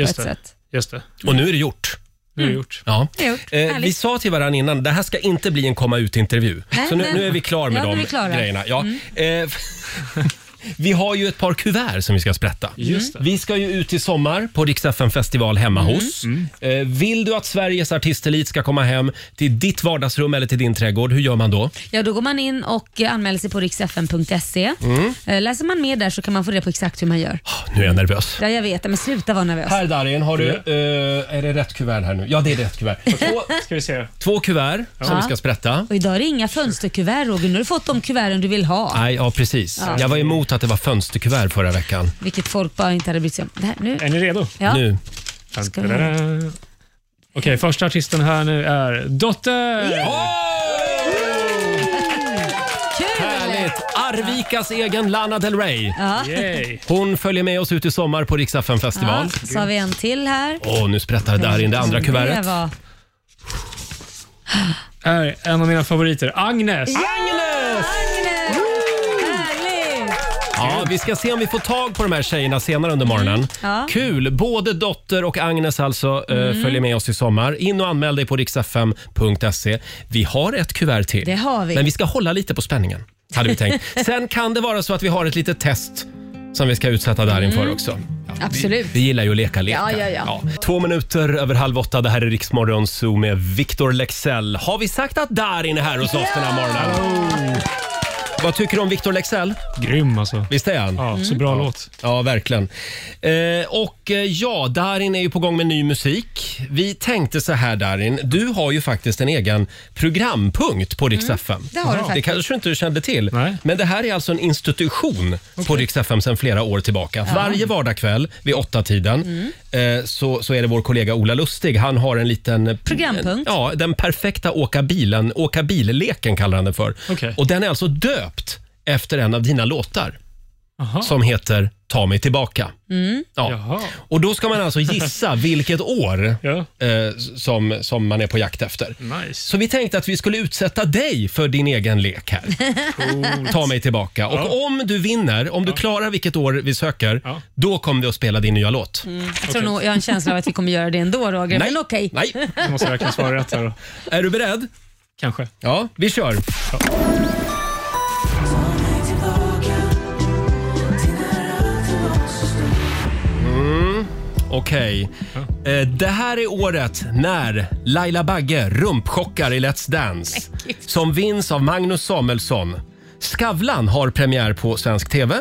just,
på ett
det,
sätt. Mm.
just det.
Och nu är det gjort.
Nu är det gjort.
Ja.
Det är gjort.
Eh, vi
Härligt.
sa till varandra innan, det här ska inte bli en komma ut-intervju.
Nej,
Så nu,
nej.
nu är vi klar med
Ja, nu är
de
vi klara.
grejerna. Ja. Eh, <laughs> Vi har ju ett par kuvert som vi ska sprätta.
Just det.
Vi ska ju ut i sommar på Riksdagen festival hemma
Mm.
hos. Eh, Vill du att Sveriges artistelit ska komma hem till ditt vardagsrum eller till din trädgård, hur gör man då?
Ja, då går man in och eh, anmäler sig på riksfn.se.
Mm.
Eh, Läser man mer där så kan man få reda på exakt hur man gör.
Ah, Nu är jag nervös.
Ja, jag vet. Men sluta vara nervös.
Här Darin, har du, eh, är det rätt kuvert här nu? Ja, det är rätt
<laughs>
kuvert. Två,
Ska vi se.
två kuvert som vi ska sprätta.
Och idag är det inga fönsterkuvert Roger. Nu har du fått de kuverten du vill ha.
Nej, ja precis. Jag var emot att det var fönsterkuvert förra veckan.
Vilket folk bara inte hade brytt sig om. Det här, nu.
Är ni redo?
Ja.
Nu.
Ska vi-
Okej, första artisten här nu är Dotter!
Kul!
Härligt! Arvikas egen Lana Del Rey.
Yay.
Hon följer med oss ut i sommar på Riksdagen
Ja,
festival.
så har vi en till här.
Åh, nu sprättar Darin det andra kuvertet.
Det var-
Här är en av mina favoriter, Agnes!
Agnes!
Agnes! Härligt!
Ja, vi ska se om vi får tag på de här tjejerna senare under morgonen.
Mm. Ja. Mm.
Kul! Både Dotter och Agnes alltså eh, följer med oss i sommar. In och anmäl dig på riksfm.se. Vi har ett kuvert till.
Det har vi.
Men vi ska hålla lite på spänningen, hade vi
<laughs>
tänkt. Sen kan det vara så att vi har ett litet test som vi ska utsätta Darin för också. Ja,
Mm. Absolut.
Vi, vi gillar ju att leka lekar.
Ja, ja, ja.
Två minuter över halv åtta. Det här är Riksmorgon Zoo med Victor Lexell. Har vi sagt att Darin är här hos oss den här morgonen? Vad tycker du om Victor Lexell?
Grym alltså.
Visst är han?
Ja, så bra låt.
Ja, verkligen. Eh, och eh, ja, Darin är ju på gång med ny musik. Vi tänkte så här Darin, du har ju faktiskt en egen programpunkt på Rix FM.
Mm, det har du
Det
faktiskt.
kanske du inte kände till.
Nej.
Men det här är alltså en institution på Rix FM sedan flera år tillbaka. Varje vardagkväll vid åtta tiden
Mm.
eh, så, så är det vår kollega Ola Lustig. Han har en liten... eh,
Programpunkt.
Ja, den perfekta åka bilen, åka billeken kallar han den för.
Okej.
Och den är alltså döpt efter en av dina låtar
Aha.
som heter Ta mig tillbaka. Ja.
Jaha.
Och då ska man alltså
<laughs>
gissa vilket år
Ja, Mm.
eh, som, som man är på jakt efter.
nice.
Så vi tänkte att vi skulle utsätta dig för din egen lek här. Ta mig tillbaka. Och
Ja.
om du vinner, om du klarar vilket år vi söker,
Ja.
då kommer vi att spela din nya låt.
Jag tror nog jag har en känsla av att vi kommer göra det ändå Roger. Men okej.
Nej.
Jag måste verkligen svara rätt här då.
Är du beredd?
Kanske.
Ja, vi kör. Okej. Eh, Det här är året när Laila Bagge rumpchockar i Let's Dance som vinns av Magnus Samuelsson. Skavlan har premiär på svensk TV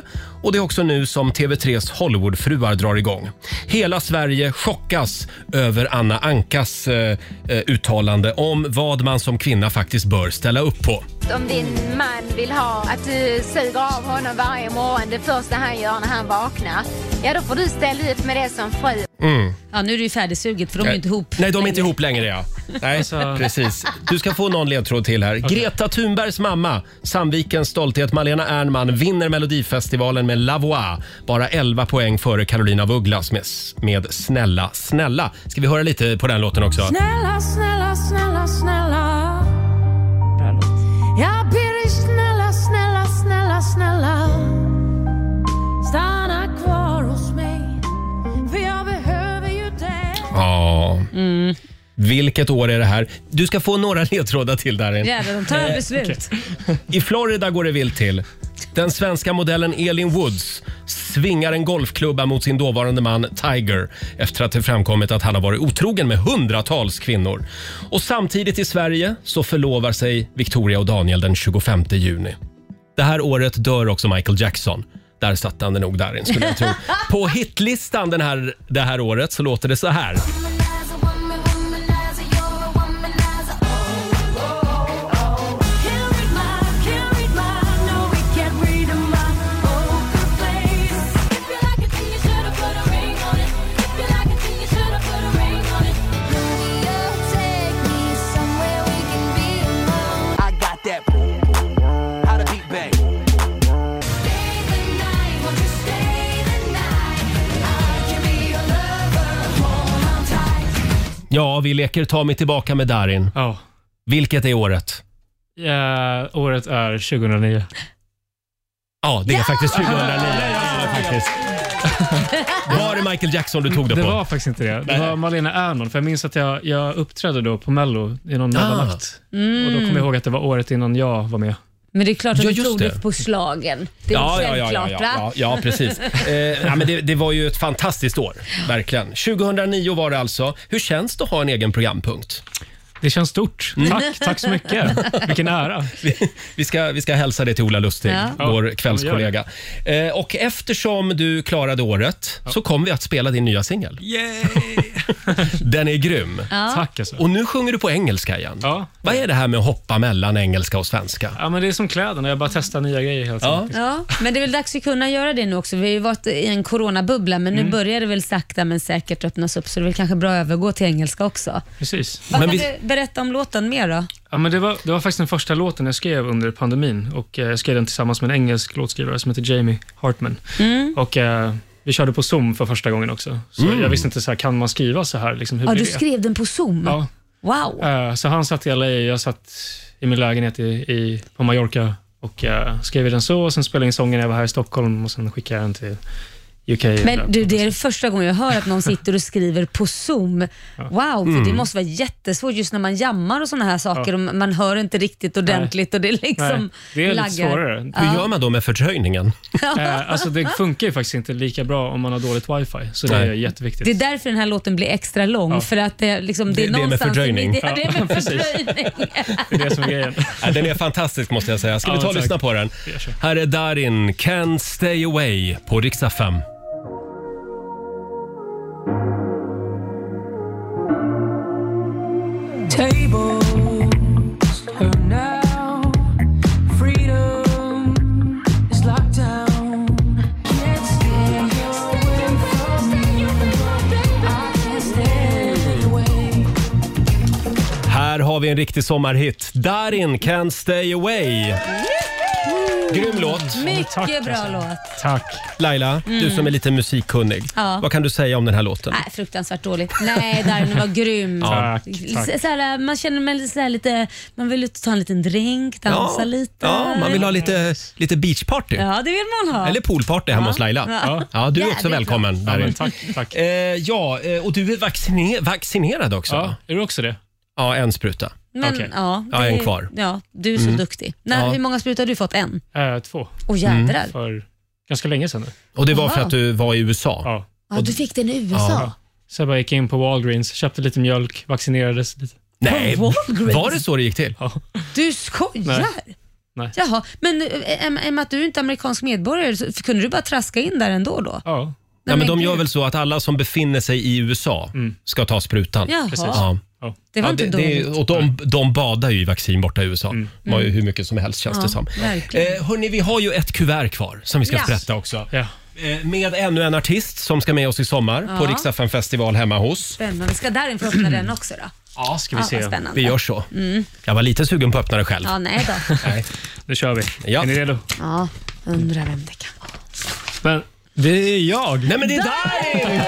och det är också nu som TV3s Hollywoodfruar drar igång. Hela Sverige chockas över Anna Ankas eh, eh, uttalande om vad man som kvinna faktiskt bör ställa upp på.
Om din man vill ha att du suger av honom varje morgon, det första han gör när han vaknar, ja då får du ställa upp med det som fru.
Ja, nu är det ju färdigsuget för de är ju inte ihop.
Eh, Nej, de är inte ihop längre. Ja. Nej, precis. Du ska få någon ledtråd till här. Greta Thunbergs mamma, Sandvikens stolthet Malena Ernman, vinner Melodifestivalen med La Voix. Bara 11 poäng före Carolina af Ugglas med, med Snälla, snälla. Ska vi höra lite på den låten också?
Snälla, snälla, snälla, snälla. Jag ber dig snälla, snälla, snälla, snälla. Stanna kvar hos mig, för jag behöver ju dig.
Ja.
Mm.
Vilket år är det här? Du ska få några <laughs> ledtrådar till Darin.
Jävlar, de tar alla beslut.
I Florida går det vilt till. Den svenska modellen Elin Woods svingar en golfklubba mot sin dåvarande man Tiger efter att det framkommit att han har varit otrogen med hundratals kvinnor. Och samtidigt i Sverige så förlovar sig Victoria och Daniel den 25 juni. Det här året dör också Michael Jackson. Där satte han det nog Darin, skulle jag tro. På hitlistan den här, det här året så låter det så här.
Oh,
I got that. boom, boom, boom. How to beat bang.
Ja, vi leker Ta mig tillbaka med Darin.
Ja.
Vilket är året?
ja. Året är 2009.
Ja, det är faktiskt 2009. Ja, faktiskt. Var det Michael Jackson du tog det
Det
på?
var faktiskt inte det.
Nej.
Det var Malena Ernman, för jag minns att jag, Ah. jag uppträdde då på Mello i någon mellanakt. Och då kom jag ihåg att det var året innan jag var med.
Men det är klart att
Ja,
du
just
tog
det.
det på slagen. Det är självklart
ja,
va?
ja, ja, precis. Eh, ja, men det, det var ju ett fantastiskt år, verkligen. 2009 var det alltså. Hur känns det att ha en egen programpunkt?
Det känns stort. Tack, tack så mycket. Vilken <laughs> ära.
Vi ska, vi ska hälsa det till Ola Lustig,
Ja.
vår kvällskollega. Eh, och eftersom du klarade året så kommer vi att spela din nya singel. Den är grym.
Tack alltså.
Och nu sjunger du på engelska igen.
Ja.
Vad är det här med att hoppa mellan engelska och svenska?
Ja, men det är som kläderna, jag bara testar nya grejer hela tiden.
Ja.
Ja, men det är väl dags att kunna göra det nu också. Vi har ju varit i en coronabubbla, men
Mm.
nu börjar det väl sakta men säkert öppnas upp, så det är väl kanske bra att övergå till engelska också.
Precis.
Vad
Men
kan
vi-
du berätta om låten mer då?
Ja, men det, var, det var faktiskt den första låten jag skrev under pandemin. Och eh, Jag skrev den tillsammans med en engelsk låtskrivare som heter Jamie Hartman.
Mm.
Och, eh, vi körde på Zoom för första gången också. Så Jag visste inte, så här, kan man skriva så här? Liksom, hur
Ja,
blir
du
det?
skrev den på Zoom?
Ja.
Wow!
Eh, Så han satt i LA, jag satt i min lägenhet i, i, på Mallorca och eh, skrev den så. Och sen spelade jag in sången när jag var här i Stockholm och sen skickade jag den till UK.
Men du, det är det första gången jag hör att någon sitter och skriver på Zoom. Wow, för
Mm.
det måste vara jättesvårt just när man jammar och sådana här saker och man hör inte riktigt ordentligt och det är liksom
Nej, det är lite
laggar. <laughs>
svårare.
Hur gör man då med fördröjningen?
Eh, Alltså, det funkar ju faktiskt inte lika bra om man har dåligt wifi, så det är
Nej.
jätteviktigt.
Det är därför den här låten blir extra lång, för att det, liksom, det,
Det-
är
det är med
någonstans...
fördröjning.
Det, <laughs> ja, det är
<laughs>
med
Precis.
fördröjning.
Det är det som är grejen.
<laughs>
Ja, den är fantastisk måste jag säga. Ska vi
Ja,
ta och
tack.
lyssna på den?
Vi kör.
Här är Darin, Can't Stay Away på riksdag 5. Här har vi en riktig sommarhit. Darin, Can't Stay Away. Grym
Mm.
låt.
Mycket bra
alltså.
låt.
Tack.
Laila, du som är lite musikkunnig.
Mm. Ja. Äh,
Vad kan du säga om den här låten?
Nej, fruktansvärt dåligt. Nej, Darin var grym.
Tack,
Så-
tack.
Såhär, man känner mig såhär lite, man vill ut och ta en liten drink, dansa lite.
ja, man vill ha lite, lite beachparty.
Ja, det vill man ha.
Eller poolparty hemma hos Laila. Ja.
Ja.
du är också
Jävligt
välkommen
Ja, men
Darin.
tack, tack.
Eh, ja, eh, och du är vaccine vaccinerad också?
Ja,
Ja,
är du också det?
ja en spruta.
Men,
Okej.
ja,
Ja,
det-
en kvar. Mm.
Ja, du är så duktig. När, Hur många sprutor har du fått? En?
Eh, två,
Åh jädrar.
Mm.
för ganska länge sedan nu.
Och det var för
Aha.
att du var i USA?
Ja.
Ja, du fick den i USA.
Så jag bara gick in på Walgreens, köpte lite mjölk, vaccinerades lite.
Nej,
På Walgreens?
var det så det gick till?
Du skojar?
Nej.
Jaha, men eh, i och med att du inte är amerikansk medborgare, så kunde du bara traska in där ändå då?
Ja,
Ja, men de
gud.
gör väl så att alla som befinner sig i USA
Mm.
ska ta sprutan.
Jaha.
precis.
Ja.
Ja.
Det var
Ja,
inte dåligt.
och de, de badar ju i vaccin borta i USA.
Mm.
De har ju hur mycket som helst känns det som.
verkligen.
Eh, hörni, vi har ju ett kuvert kvar som vi ska
Ja.
sprätta också.
ja.
Eh, med ännu en artist som ska med oss i sommar på Riksdagen festival hemma hos.
Spännande. Ska Darin få öppna den också då?
ja ska vi
Ja, vad
se.
spännande.
Vi gör så. Jag var lite sugen på att öppna det själv.
Mm. Ja, nej då.
Nej.
Nu kör vi.
Ja.
Är ni redo?
Ja, <laughs> undrar vem det kan vara.
Men det är jag.
Nej men det är Darin!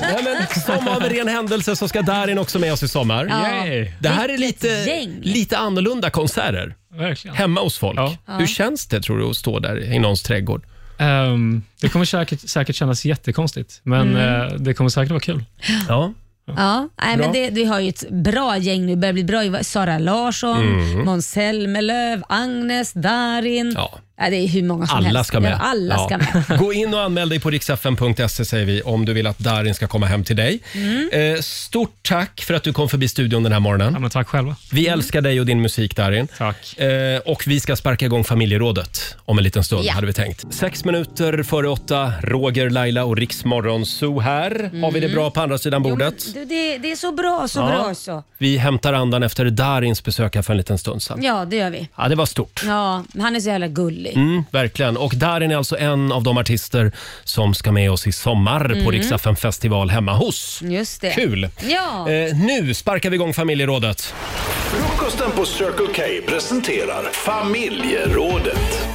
Nej, men, som av en ren händelse så ska Darin också med oss i sommar.
Yay.
Det här är
Vilket
lite,
gäng.
lite annorlunda konserter
Verkligen.
hemma hos folk.
Ja.
Hur känns det tror du att stå där i någons trädgård?
Ehm, det kommer säkert, säkert kännas jättekonstigt, men
Mm.
eh, det kommer säkert vara
<laughs>
kul.
Ja.
Ja, nej, men det, vi har ju ett bra gäng nu. börjar bli bra. Sara Larsson, Måns Zelmerlöw, Agnes, Darin.
Mm. Ja.
Nej, det är hur många som
Alla
helst.
ska med.
Ja, alla
Ja.
ska
<laughs>
med.
Gå in och anmäl dig på riksfn.se säger vi om du vill att Darin ska komma hem till dig.
Mm.
Eh, stort tack för att du kom förbi studion den här
Ja,
morgonen.
men tack själva.
Vi älskar dig och din musik Darin.
Tack.
Eh, och vi ska sparka igång familjerådet om en liten stund
Ja.
hade vi tänkt. Sex minuter före åtta, Roger, Laila och Riksmorgon Zoo här. Har vi det bra på andra sidan
Mm. Jo, men,
bordet?
du, det, det är så bra, så bra så.
Vi hämtar andan efter Darins besök här för en liten stund sedan.
Ja, det gör vi.
Ja, det var stort.
Ja, men han är så jävla gullig.
Mm, verkligen. Och Darin är alltså en av de artister som ska med oss i sommar på Riksdagen festival hemma hos.
Just det.
Kul!
Ja.
Eh, nu sparkar vi igång familjerådet.
Frukosten på Circle K presenterar Familjerådet.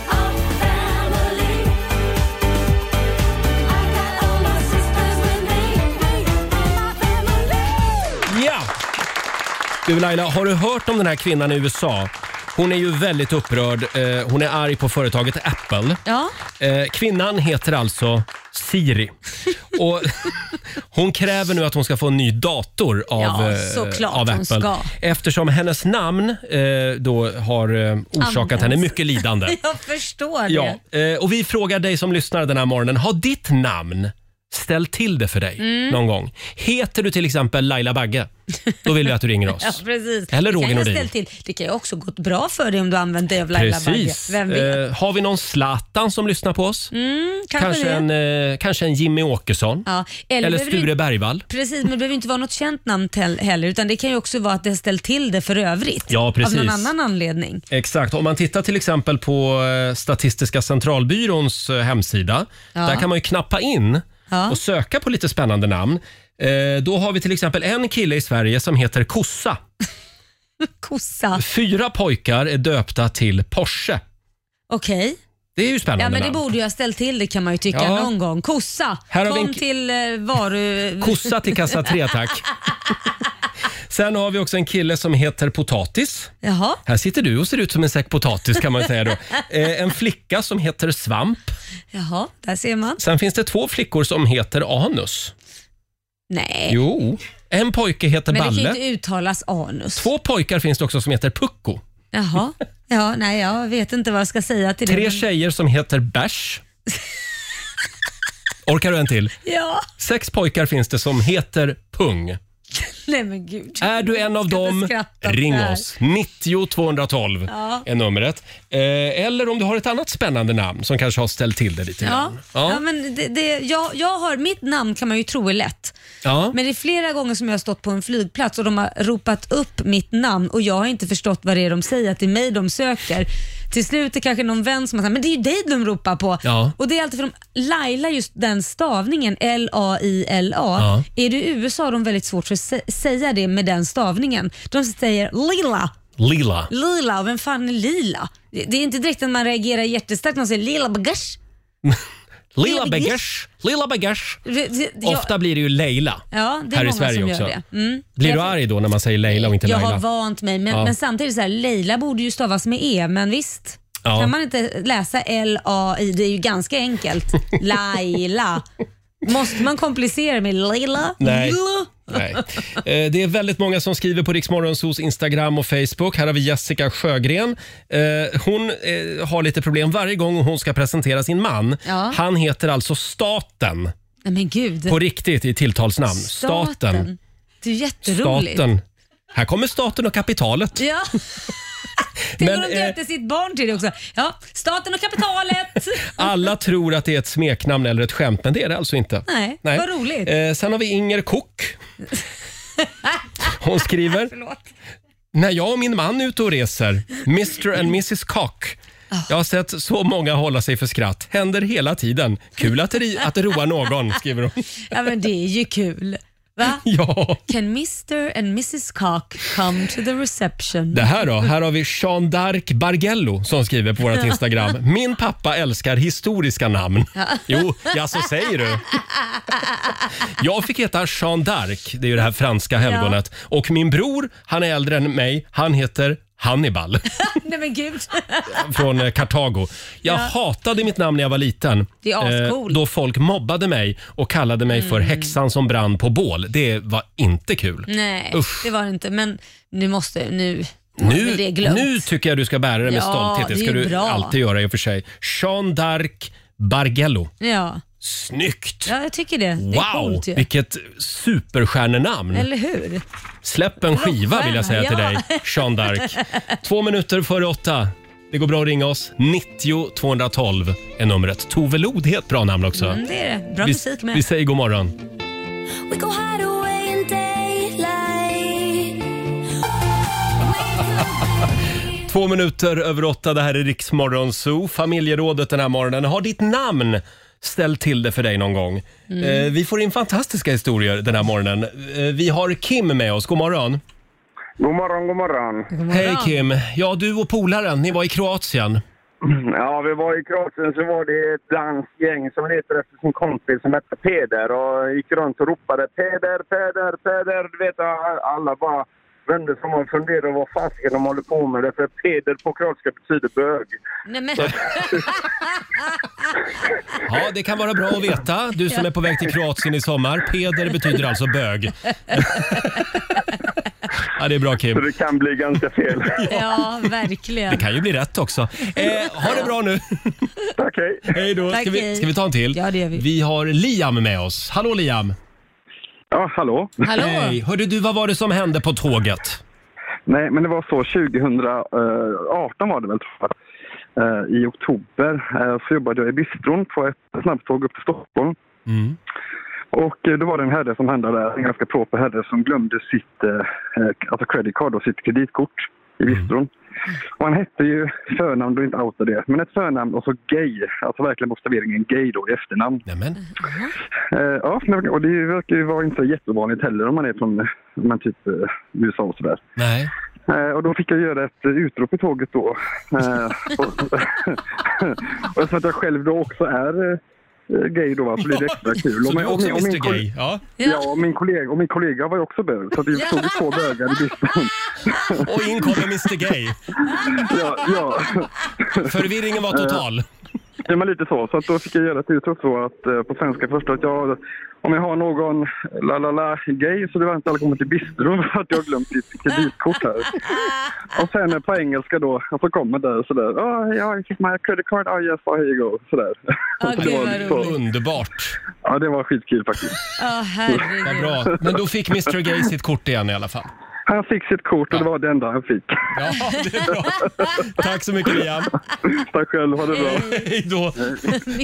Ja! Du Laila, har du hört om den här kvinnan i USA? Hon är ju väldigt upprörd. Eh, hon är arg på företaget Apple.
Ja. <laughs>
Eh, kvinnan heter alltså Siri Och <laughs> hon kräver nu att hon ska få en ny dator av,
Ja,
eh,
såklart
av
hon
Apple.
ska.
Eftersom hennes namn eh, då har eh, orsakat
Används.
henne mycket lidande.
<laughs> Jag förstår det.
ja, eh, och vi frågar dig som lyssnar den här morgonen, har ditt namn ställt till det för dig
Mm.
någon gång? Heter du till exempel Laila Bagge? Då vill vi att du
<laughs>
ringer oss.
Ja, precis.
Eller Roger
det kan jag
Nordin.
ställa till. Det kan ju också gått bra för dig om du använt dig av Laila
Precis.
Bagge. Vem vet?
Eh, har vi någon Zlatan som lyssnar på oss?
Mm, kanske
Kanske
det.
en, eh, kanske en Jimmy Åkesson?
Ja, eller
Eller,
behöver det-
Sture Bergvall?
Precis, men det behöver inte vara något känt namn tell- heller utan det kan ju också vara att det har ställt till det för övrigt.
Ja, precis.
Av någon annan anledning.
Exakt. Om man tittar till exempel på eh, Statistiska centralbyråns eh, hemsida.
Ja.
Där kan man ju knappa in
Ja.
och söka på lite spännande namn. Eh, Då har vi till exempel en kille i Sverige som heter Kossa.
Kossa.
Fyra pojkar är döpta till Porsche.
Okej.
Det är ju spännande
Ja men det
namn.
borde ju ha ställt till det kan man ju tycka
Ja.
någon gång. Kossa,
Här har vi
kom
en-
till eh, varu...
Kossa till kassa
<laughs>
3 tack. Sen har vi också en kille som heter Potatis.
Jaha.
Här sitter du och ser ut som en säck potatis kan man säga då. Eh, en flicka som heter Svamp.
Jaha, där ser man.
Sen finns det två flickor som heter Anus.
Nej.
Jo. En pojke heter
Eh. men det kan ju
Balle.
inte uttalas anus.
Två pojkar finns det också som heter Pucko.
Jaha. Ja, nej jag vet inte vad jag ska säga till
Tre
det.
tjejer som heter Bärs. Orkar du en till?
Ja,
Sex pojkar finns det som heter Pung.
nej men gud.
Är du en av dem,
skratta åt
ring
det här.
oss. 90 212
Ja.
är numret. Eh, eller om du har ett annat spännande namn som kanske har ställt till det lite
Ja,
grann.
ja.
Ja.
men det, det, jag, jag har, mitt namn kan man ju tro är lätt.
Ja.
Men det är flera gånger som jag har stått på en flygplats och de har ropat upp mitt namn och jag har inte förstått vad det är de säger, att det är mig de söker. Till slut är det kanske någon vän som har sagt men det är ju dig de ropar på.
Ja.
Och det är alltid för de Laila, just den stavningen, L-A-I-L-A.
Ja.
Är du i USA har de väldigt svårt för att sä- säga det med den stavningen. De säger lila,
Lila.
lila och vem fan är lila? Det, det är inte direkt att man reagerar jättestarkt när de säger lila bagage.
Lila Beggers. Lila Beggers.
Det- det- jag-
Ofta blir det ju Leila
Ja, det är
här i
många
Sverige
som gör
också.
det. Mm.
Blir du
Jag-
arg då när man säger Leila och inte
Jag
Laila?
har vant mig, men,
Ja.
men samtidigt så här, Leila borde ju stavas med E, men visst.
Ja.
Kan man inte läsa L-A-I? Det är ju ganska
<laughs>
enkelt. Laila. Måste man komplicera med Leila?
Nej.
Lila?
Nej. Eh, Det är väldigt många som skriver på Riksmorgonsos Instagram och Facebook. Här har vi Jessica Sjögren. Eh, Hon eh, har lite problem varje gång hon ska presentera sin man.
Ja.
Han heter alltså staten
Nej men gud.
på riktigt i tilltalsnamn. Staten.
Det är ju jätteroligt.
Staten. Här kommer staten och kapitalet. <laughs>
Ja. Tänk om
Men,
de
eh,
döpte sitt barn till det också. Ja, staten och
<laughs>
kapitalet.
Alla tror att det är ett smeknamn eller ett skämt, men det är det alltså inte.
Nej, vad roligt.
Eh, sen har vi Inger Kock. Hon
<laughs>
skriver. När jag och min man är ute och reser, Mr and Mrs Cock. Jag har sett så många hålla sig för skratt. Händer hela tiden. Kul att det, ri- att det roar någon, skriver hon. <laughs>
Ja men det är ju kul. Va?
Ja.
Can Mr and Mrs Cock come to the reception?
Det här då? Här har vi Jean d'Arc Bargello som skriver på vårt Instagram. Min pappa älskar historiska namn. Jo, ja så säger du. Jag fick heta Jean d'Arc, det är ju det här franska helgonet. Och min bror, han är äldre än mig, han heter Hannibal
Nej men gud.
från eh, Kartago. Jag
Ja.
hatade mitt namn när jag var liten. Eh,
Det är ascoolt. Mm.
då folk mobbade mig och kallade mig för häxan som brann på bål. Det var inte kul.
Nej,
Usch.
det var det inte. Men nu måste nu,
Nu,
det är glömt.
nu tycker jag du ska bära det med
Ja,
stolthet. Det
det är
ska
ju
du
bra.
alltid göra i och för sig. Jean d'Arc Bargello.
Ja.
Snyggt!
ja, jag tycker det. Det
Wow,
är coolt ju.
vilket superstjärnenamn.
Eller hur?
Släpp en skiva vill jag säga till
Ja.
dig, Jean
<laughs>
d'Arc. Två minuter före åtta. Det går bra att ringa oss. 90 212 är numret. Tove Lod är ett bra namn också.
Mm, det är det. Bra
vi,
musik med.
vi säger god morgon. Två minuter över åtta, det här är Riksmorgon Zoo. Familjerådet den här morgonen. Har ditt namn ställt till det för dig någon gång?
Mm.
Eh, vi får in fantastiska historier den här morgonen. Eh, vi har Kim med oss, god morgon.
God morgon, god morgon.
Hej Kim! Ja, du och polaren, ni var i Kroatien.
Ja, vi var i Kroatien så var det ett danskt gäng som letade efter sin kompis som hette Peder och gick runt och ropade Peder, Peder, Peder. Du vet, alla bara vände som man funderade vad fasiken de håller på med. Därför att peder på kroatiska betyder bög.
Nej, men...
Ja, det kan vara bra att veta. Du som är på väg till Kroatien i sommar. Peder betyder alltså bög. Ja, det är bra Kim.
Så det kan bli ganska fel. <laughs>
Ja, verkligen.
Det kan ju bli rätt också. Eh, ha det bra nu.
Tack, hej.
Hej då.
Tack,
Ska vi,
hej.
ska vi ta en till?
Ja, det gör vi.
har Liam med oss. Hallå Liam!
Ja, hallå.
Hallå.
Hej! Hörde du, vad var det som hände på tåget?
Nej, men det var så 2018 var det väl, tror jag. Eh, I oktober eh, så jobbade jag i bistron på ett snabbtåg upp till Stockholm.
Mm.
Och eh, då var det en herre som handlade där, en ganska proper herre som glömde sitt eh, eh, alltså credit card och sitt kreditkort i bistron. Och han hette ju förnamn, då inte outa det, men ett förnamn och så gay, alltså verkligen bokstaveringen gay då i efternamn.
Nämen.
Eh, ja, men- och det verkar ju vara inte så jättevanligt heller om man är från eh, men typ eh, USA och sådär.
Nej.
Eh, och då fick jag göra ett eh, utrop i tåget då. Eh, och, <laughs> och eftersom att jag själv då också är eh, gay då va, så blir
<laughs>
det extra kul.
Så
Och
du är också Mr.
koll-
Gay, Ja.
Ja, och min kollega, och min kollega var ju också bög, så att vi stod ju två bögar i bistron.
Och in kommer Mr Gay.
ja, ja.
Förvirringen var total.
Ja, men lite så. Så att då fick jag göra ett utrop så att eh, på svenska först att jag, om jag har någon la la la gay så du var inte välkommen till bistron <laughs> för att jag har glömt ditt kreditkort här. Och sen eh, på engelska då, och så kommer där sådär, oh, yeah, I fick my credit card, oh yes, oh, here you go, sådär.
Ja,
Så
Ah, gud,
var
vad
lite så.
Underbart.
Ja, det var skitkul faktiskt.
Ja, herregud.
Vad bra. Men då fick Mr Gay sitt kort igen i alla fall.
Han fick sitt kort och det var det enda han fick.
Ja, det är bra. Tack så mycket Liam.
Tack själv, ha det bra.
Hej då.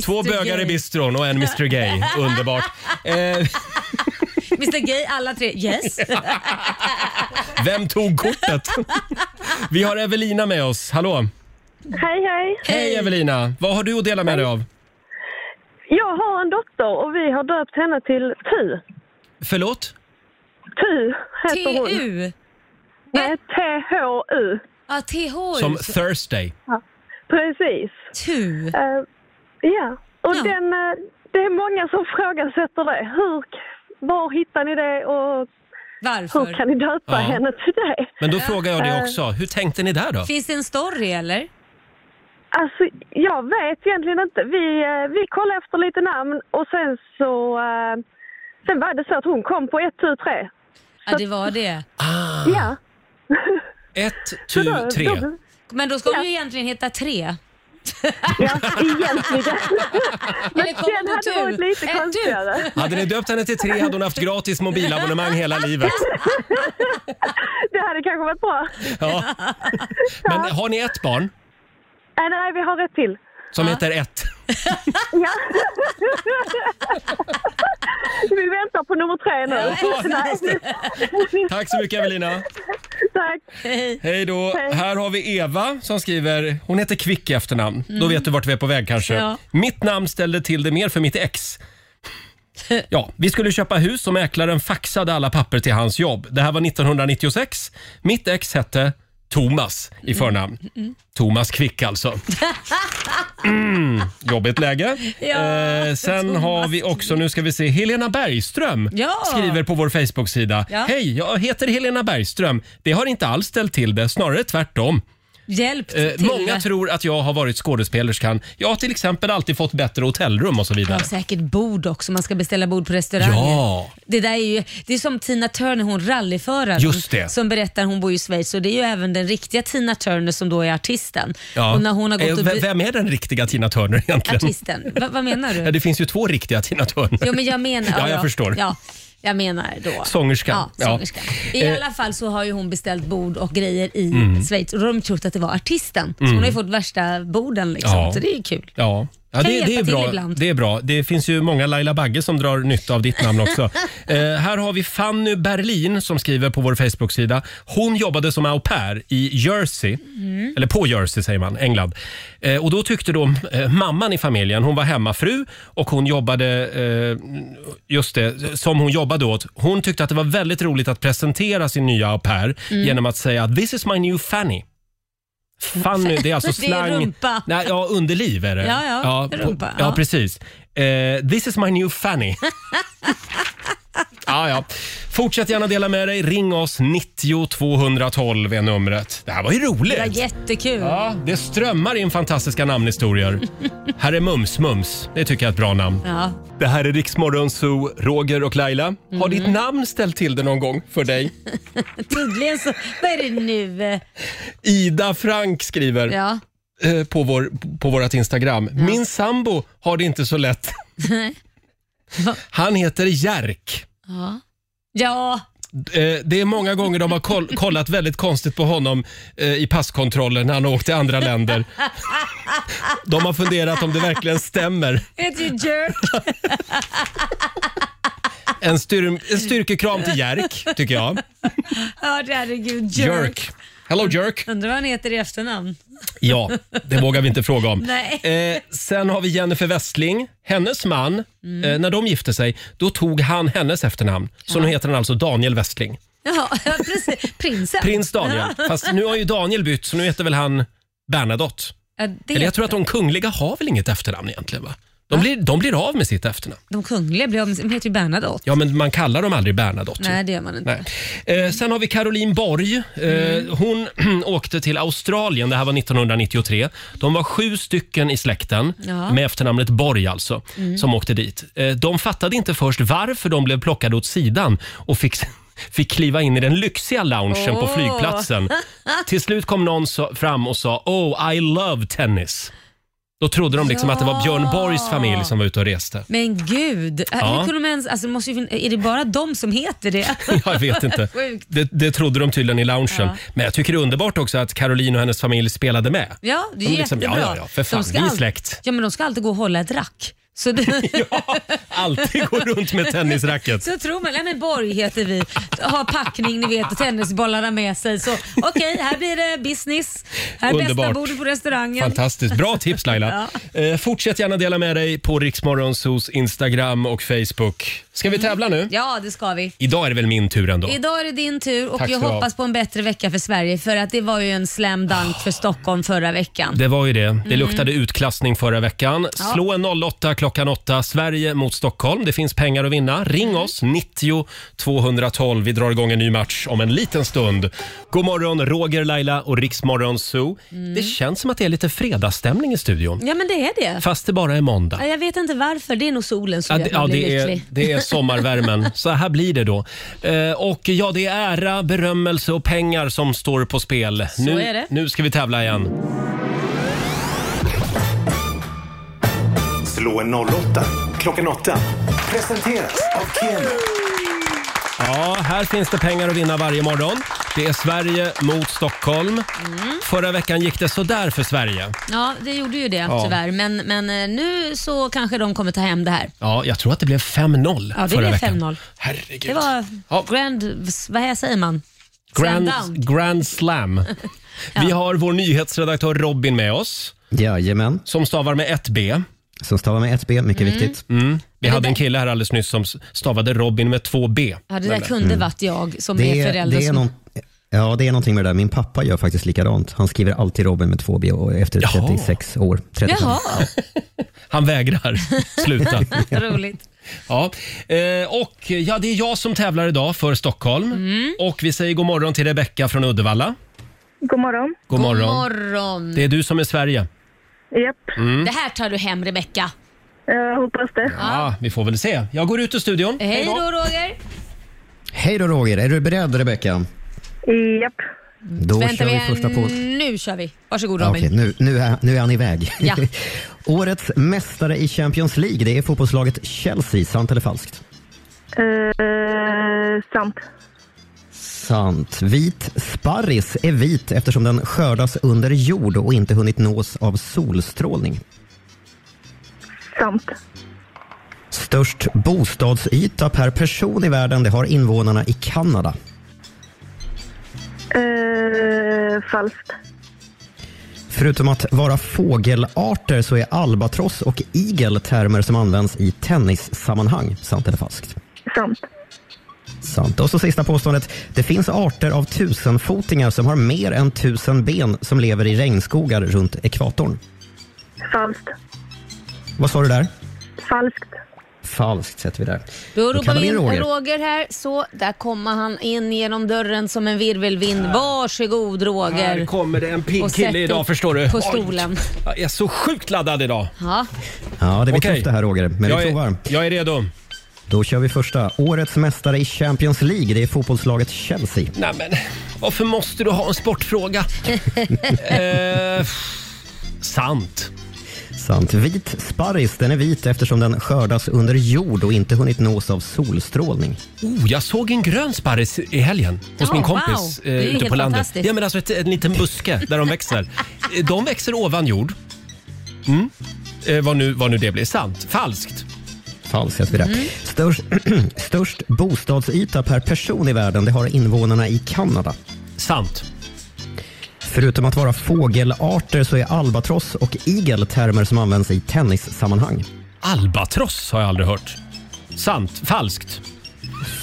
Två
Mr.
bögar i
Gay.
bistron och en Mr Gay. Underbart. Eh,
Mr Gay, alla tre.
<laughs>
Yes.
vem tog kortet? Vi har Evelina med oss. Hallå!
Hej, hej.
Hej Evelina! Vad har du att dela med dig av?
Jag har en dotter och vi har döpt henne till Tu.
Förlåt?
Tu heter hon.
T-U?
Nej, T-H-U.
Ja, TH.
Som Thursday.
Precis.
Tu.
ja, och Den, eh, det är många som ifrågasätter det. Hur, var hittar ni det och
Varför?
hur kan ni döpa
Ja.
henne till det?
Men då frågar jag
Eh,
dig också, hur tänkte ni där då?
Finns det en story eller?
Alltså, jag vet egentligen inte. Vi, eh, vi kollade efter lite namn och sen så... eh, Sen var det så att hon kom på 1, 2, 3.
Ja, det var det.
Ja.
Ett, tu, tre.
Men då ska hon ju egentligen heta tre. <laughs>
Ja, egentligen. Men
Eller kommer
den
på
hade
tur.
varit lite
Ett tur.
konstigare.
Hade ni döpt henne till tre hade hon haft gratis mobilabonnemang hela livet.
Det hade kanske varit bra.
Ja. Men har ni ett barn
Äh, nej, vi har ett till.
som heter ett?
<laughs>
Ja. Vi väntar på nummer tre nu. Nej,
Tack så mycket Evelina.
tack.
Hej då. Här har vi Eva som skriver, hon heter Kvick i efternamn. Då vet du vart vi är på väg kanske.
Ja.
Mitt namn ställde till det mer för mitt ex. Ja, vi skulle köpa hus och mäklaren faxade alla papper till hans jobb. Det här var 1996. Mitt ex hette Thomas i förnamn. Thomas Quick alltså. Mm, jobbigt läge. eh, sen har vi också, nu ska vi se, Helena Bergström
Ja.
skriver på vår Facebook-sida.
Ja.
Hej, jag heter Helena Bergström. Det har inte alls ställt till det, snarare tvärtom.
Hjälp
Eh,
till
många tror att jag har varit skådespelerskan. Jag har till exempel alltid fått bättre hotellrum och så vidare.
Ja, säkert bord också. Man ska beställa bord på restauranger.
Ja.
Det, där är ju, det är som Tina Turner, hon rallyföraren.
Just det.
Som berättar, hon bor i Schweiz och det är ju även den riktiga Tina Turner som då är artisten.
Ja.
Och när hon har gått
Eh,
och...
ve-
bu-
Vem är den riktiga Tina Turner egentligen?
Artisten. Va, vad menar du?
<laughs> Ja, det finns ju två riktiga Tina Turner.
Jo, men jag menar...
Ja, jag förstår.
Ja, jag menar då...
Sångerskan.
Ja, sångerskan.
Ja.
I
Eh.
alla fall så har ju hon beställt bord och grejer i
Mm.
Schweiz och då har de trott att det var artisten. Så
Mm.
hon har ju fått värsta borden liksom,
Ja.
så det är ju kul.
Ja. Ja,
Kan
det,
hjälpa
det, är
till
bra.
ibland.
det är bra. Det finns ju många Laila Bagge som drar nytta av ditt namn
<laughs>
också. eh, här har vi Fanny Berlin som skriver på vår Facebook-sida. Hon jobbade som au pair i Jersey,
Mm.
eller på Jersey säger man, England. Eh, och då tyckte då eh, mamman i familjen, hon var hemmafru och hon jobbade, eh, just det, som hon jobbade åt. Hon tyckte att det var väldigt roligt att presentera sin nya au pair
Mm.
genom att säga “This is my new Fanny”. <laughs> Fanny, det är alltså
<laughs> Det är
slang...
rumpa.
Nej, ja, underliv är det.
Ja, ja,
på-
rumpa, ja. <laughs>
ja precis. Eh, this is my new fanny. Ja, Ja, ja. Fortsätt gärna dela med dig. Ring oss 90 212 är numret. Det här var ju roligt.
Det var jättekul.
Ja, det strömmar in fantastiska namnhistorier. här är Mums Mums. Det tycker jag är ett bra namn.
Ja.
Det här är Riksmorgon Zoo, Roger och Laila.
Mm.
Har ditt namn ställt till det någon gång för dig?
Tydligen så, vad är det nu? Eh,
Ida Frank skriver
Ja.
eh, på, vår, på vårt Instagram. Min sambo har det inte så lätt. Han heter Jerk.
Ja. ja.
Eh, Det är många gånger de har koll- kollat väldigt konstigt på honom eh, i passkontrollen när han har åkt till andra länder. De har funderat om det verkligen stämmer.
It's a jerk.
En, styr, en styrkekram till Jerk, tycker jag.
Ja, herregud. Jerk.
Jerk. Hello Jerk.
Undrar vad han heter i efternamn.
Ja, det vågar vi inte fråga om.
<laughs> Nej.
Eh, sen har vi Jennifer Westling. Hennes man,
Mm.
eh, när de gifte sig, då tog han hennes efternamn. Så nu heter han alltså Daniel Westling.
Ja, precis. Prinsen.
Prins
<laughs>
Daniel.
Ja.
Fast nu har ju Daniel bytt, så nu heter väl han Bernadotte.
Ja, det
Eller jag
heter-
tror att de kungliga har väl inget efternamn egentligen va? De blir, de blir av med sitt efternamn.
De kungliga blir av med, de heter ju Bernadotte.
Ja, men man kallar dem aldrig Bernadotte.
Nej, det gör man inte.
Nej. Eh, sen har vi Caroline Borg. Eh,
Mm.
Hon <clears throat> åkte till Australien, det här var 1993. De var sju stycken i släkten,
Ja.
med efternamnet Borg alltså,
Mm.
som åkte dit. Eh, de fattade inte först varför de blev plockade åt sidan och fick <laughs> fick kliva in i den lyxiga loungen på
Åh. <laughs>
flygplatsen. Till slut kom någon så- fram och sa “Oh, I love tennis”. Då trodde de liksom att det var Björn Borgs familj som var ute och reste.
Men gud,
Ja.
hur kunde de ens, alltså, det måste ju, fin- är det bara de som heter det?
<laughs> Jag vet inte.
Sjukt.
Det, det trodde de tydligen i loungen.
Ja.
Men jag tycker det är underbart också att Caroline och hennes familj spelade med.
Ja, det är
De
ju
liksom,
jättebra.
Ja, ja, ja, för fan,
de
vi är
all-
släkt.
Ja, men de ska alltid gå och hålla ett rack.
<laughs>
Så, det-
Alltid går runt med tennisracket.
<laughs> så tror man, nej men Borg heter vi. Har packning ni vet och tennisbollarna med sig. Så okej, här blir det business. Här är bästa
Underbart.
bordet på restaurangen.
Fantastiskt. Bra tips
<laughs>
Laila. eh, fortsätt gärna dela med dig på Riksmorgonsos Instagram och Facebook. Ska vi tävla nu?
Ja, det ska vi.
Idag är det väl min tur ändå?
Idag är det din tur och
Tack
jag
ska du ha.
hoppas på en bättre vecka för Sverige för att det var ju en slam dunk för Stockholm förra veckan.
Det var ju det. Det luktade utklassning förra veckan.
Mm. Ja.
Slå en 08 klockan 8. Sverige mot Stockholm. Det finns pengar att vinna.
Mm.
Ring oss, 90 212. Vi drar igång en ny match om en liten stund. God morgon, Roger, Laila och Riksmorgon Zoo.
Mm.
Det känns som att det är lite fredagsstämning i studion.
Ja men det är det.
Fast det bara är måndag.
Ja, Jag vet inte varför, det är nog solen
Ja,
som gör
det,
att
ja,
man blir
det, är,
lycklig.
det
<laughs>
är sommarvärmen. Så här blir det då. Eh, och ja, det är ära, berömmelse och pengar som står på spel.
Så
nu,
är det.
nu ska vi tävla igen.
Slå en 08 klockan 8. Presenteras av Keno.
Ja, här finns det pengar att vinna varje morgon. Det är Sverige mot Stockholm.
Mm.
Förra veckan gick det sådär för Sverige.
Ja, det gjorde ju det
Ja.
tyvärr. Men, men eh, nu så kanske de kommer ta hem det här.
Ja, jag tror att det blev 5-0
Ja, det
förra
blev
veckan.
5-0.
Herregud.
Det var grand, vad här säger man?
Grand,
Slam dunk.
grand slam.
<laughs>
Vi har vår nyhetsredaktör Robin med oss. Jajamän. Som stavar med ett B.
Som stavar med ett B, mycket
Mm.
viktigt.
Mm. Vi hade en kille här alldeles nyss som stavade Robin med två B.
Ja, det där kunde
Mm.
varit jag som
Det
är
är-
förälder.
det är
som...
någon- Ja, det är någonting med det där. Min pappa gör faktiskt likadant. Han skriver alltid Robin med två B och efter 36 år. 35.
<laughs>
Jaha,
Han
<laughs>
vägrar sluta.
roligt.
Ja. Eh, och ja, det är jag som tävlar idag för Stockholm.
Mm.
Och vi säger god morgon till Rebecka från Uddevalla.
God morgon.
God morgon.
morgon.
Det är du som är Sverige.
Japp.
Mm.
Det här tar du hem Rebecka.
Jag Eh, hoppas det.
Ja, vi får väl se. Jag går ut ur studion.
Hej då Roger.
Hej då Roger, är du beredd Rebecka?
Japp.
Då kör vi första på...
Nu kör vi. Varsågod
Ja,
Robin.
Okej, nu, nu, är, nu är han iväg.
Ja.
Årets mästare i Champions League, det är fotbollslaget Chelsea. Sant eller falskt?
Eh, sant.
Sant. Vit sparris är vit eftersom den skördas under jord och inte hunnit nås av solstrålning.
Sant.
Störst bostadsyta per person i världen, det har invånarna i Kanada.
Eh, falskt.
Förutom att vara fågelarter så är albatross och igel termer som används i tennissammanhang. Sant eller falskt?
Sant.
Sant. Och så sista påståendet. Det finns arter av tusenfotingar som har mer än tusen ben som lever i regnskogar runt ekvatorn.
Falskt.
Vad sa du där?
Falskt.
Falskt sätter vi där.
Då ropar
kallar
vi in Roger.
Roger.
här, så där kommer han in genom dörren som en virvelvind. Varsågod Roger.
Här kommer det en pigg
Och
kille
sätt
idag
upp
förstår du.
På
Oj,
stolen.
jag är så sjukt laddad idag.
Ja.
Ja, det blir
Okej.
tufft det här Roger, men
jag
vi provar.
Är, jag är redo.
Då kör vi första. Årets mästare i Champions League, det är fotbollslaget Chelsea.
Nej, men varför måste du ha en
<laughs>
sportfråga? eh, sant.
Sant. Vit sparris, den är vit eftersom den skördas under jord och inte hunnit nås av solstrålning.
Oh, jag såg en grön sparris i helgen hos
Ja,
min
wow.
kompis eh,
Det är ju
ute
helt
på landet.
fantastiskt.
Ja, men alltså ett, en liten buske där de växer. Eh, De växer ovan jord. Mm. Eh, vad, nu, vad nu det blir. Sant. Falskt.
Falskt heter det. Störst, störst <laughs> bostadsyta per person i världen, det har invånarna i Kanada.
Sant.
Förutom att vara fågelarter så är albatross och igel termer som används i tennissammanhang.
Albatross har jag aldrig hört. Sant. Falskt.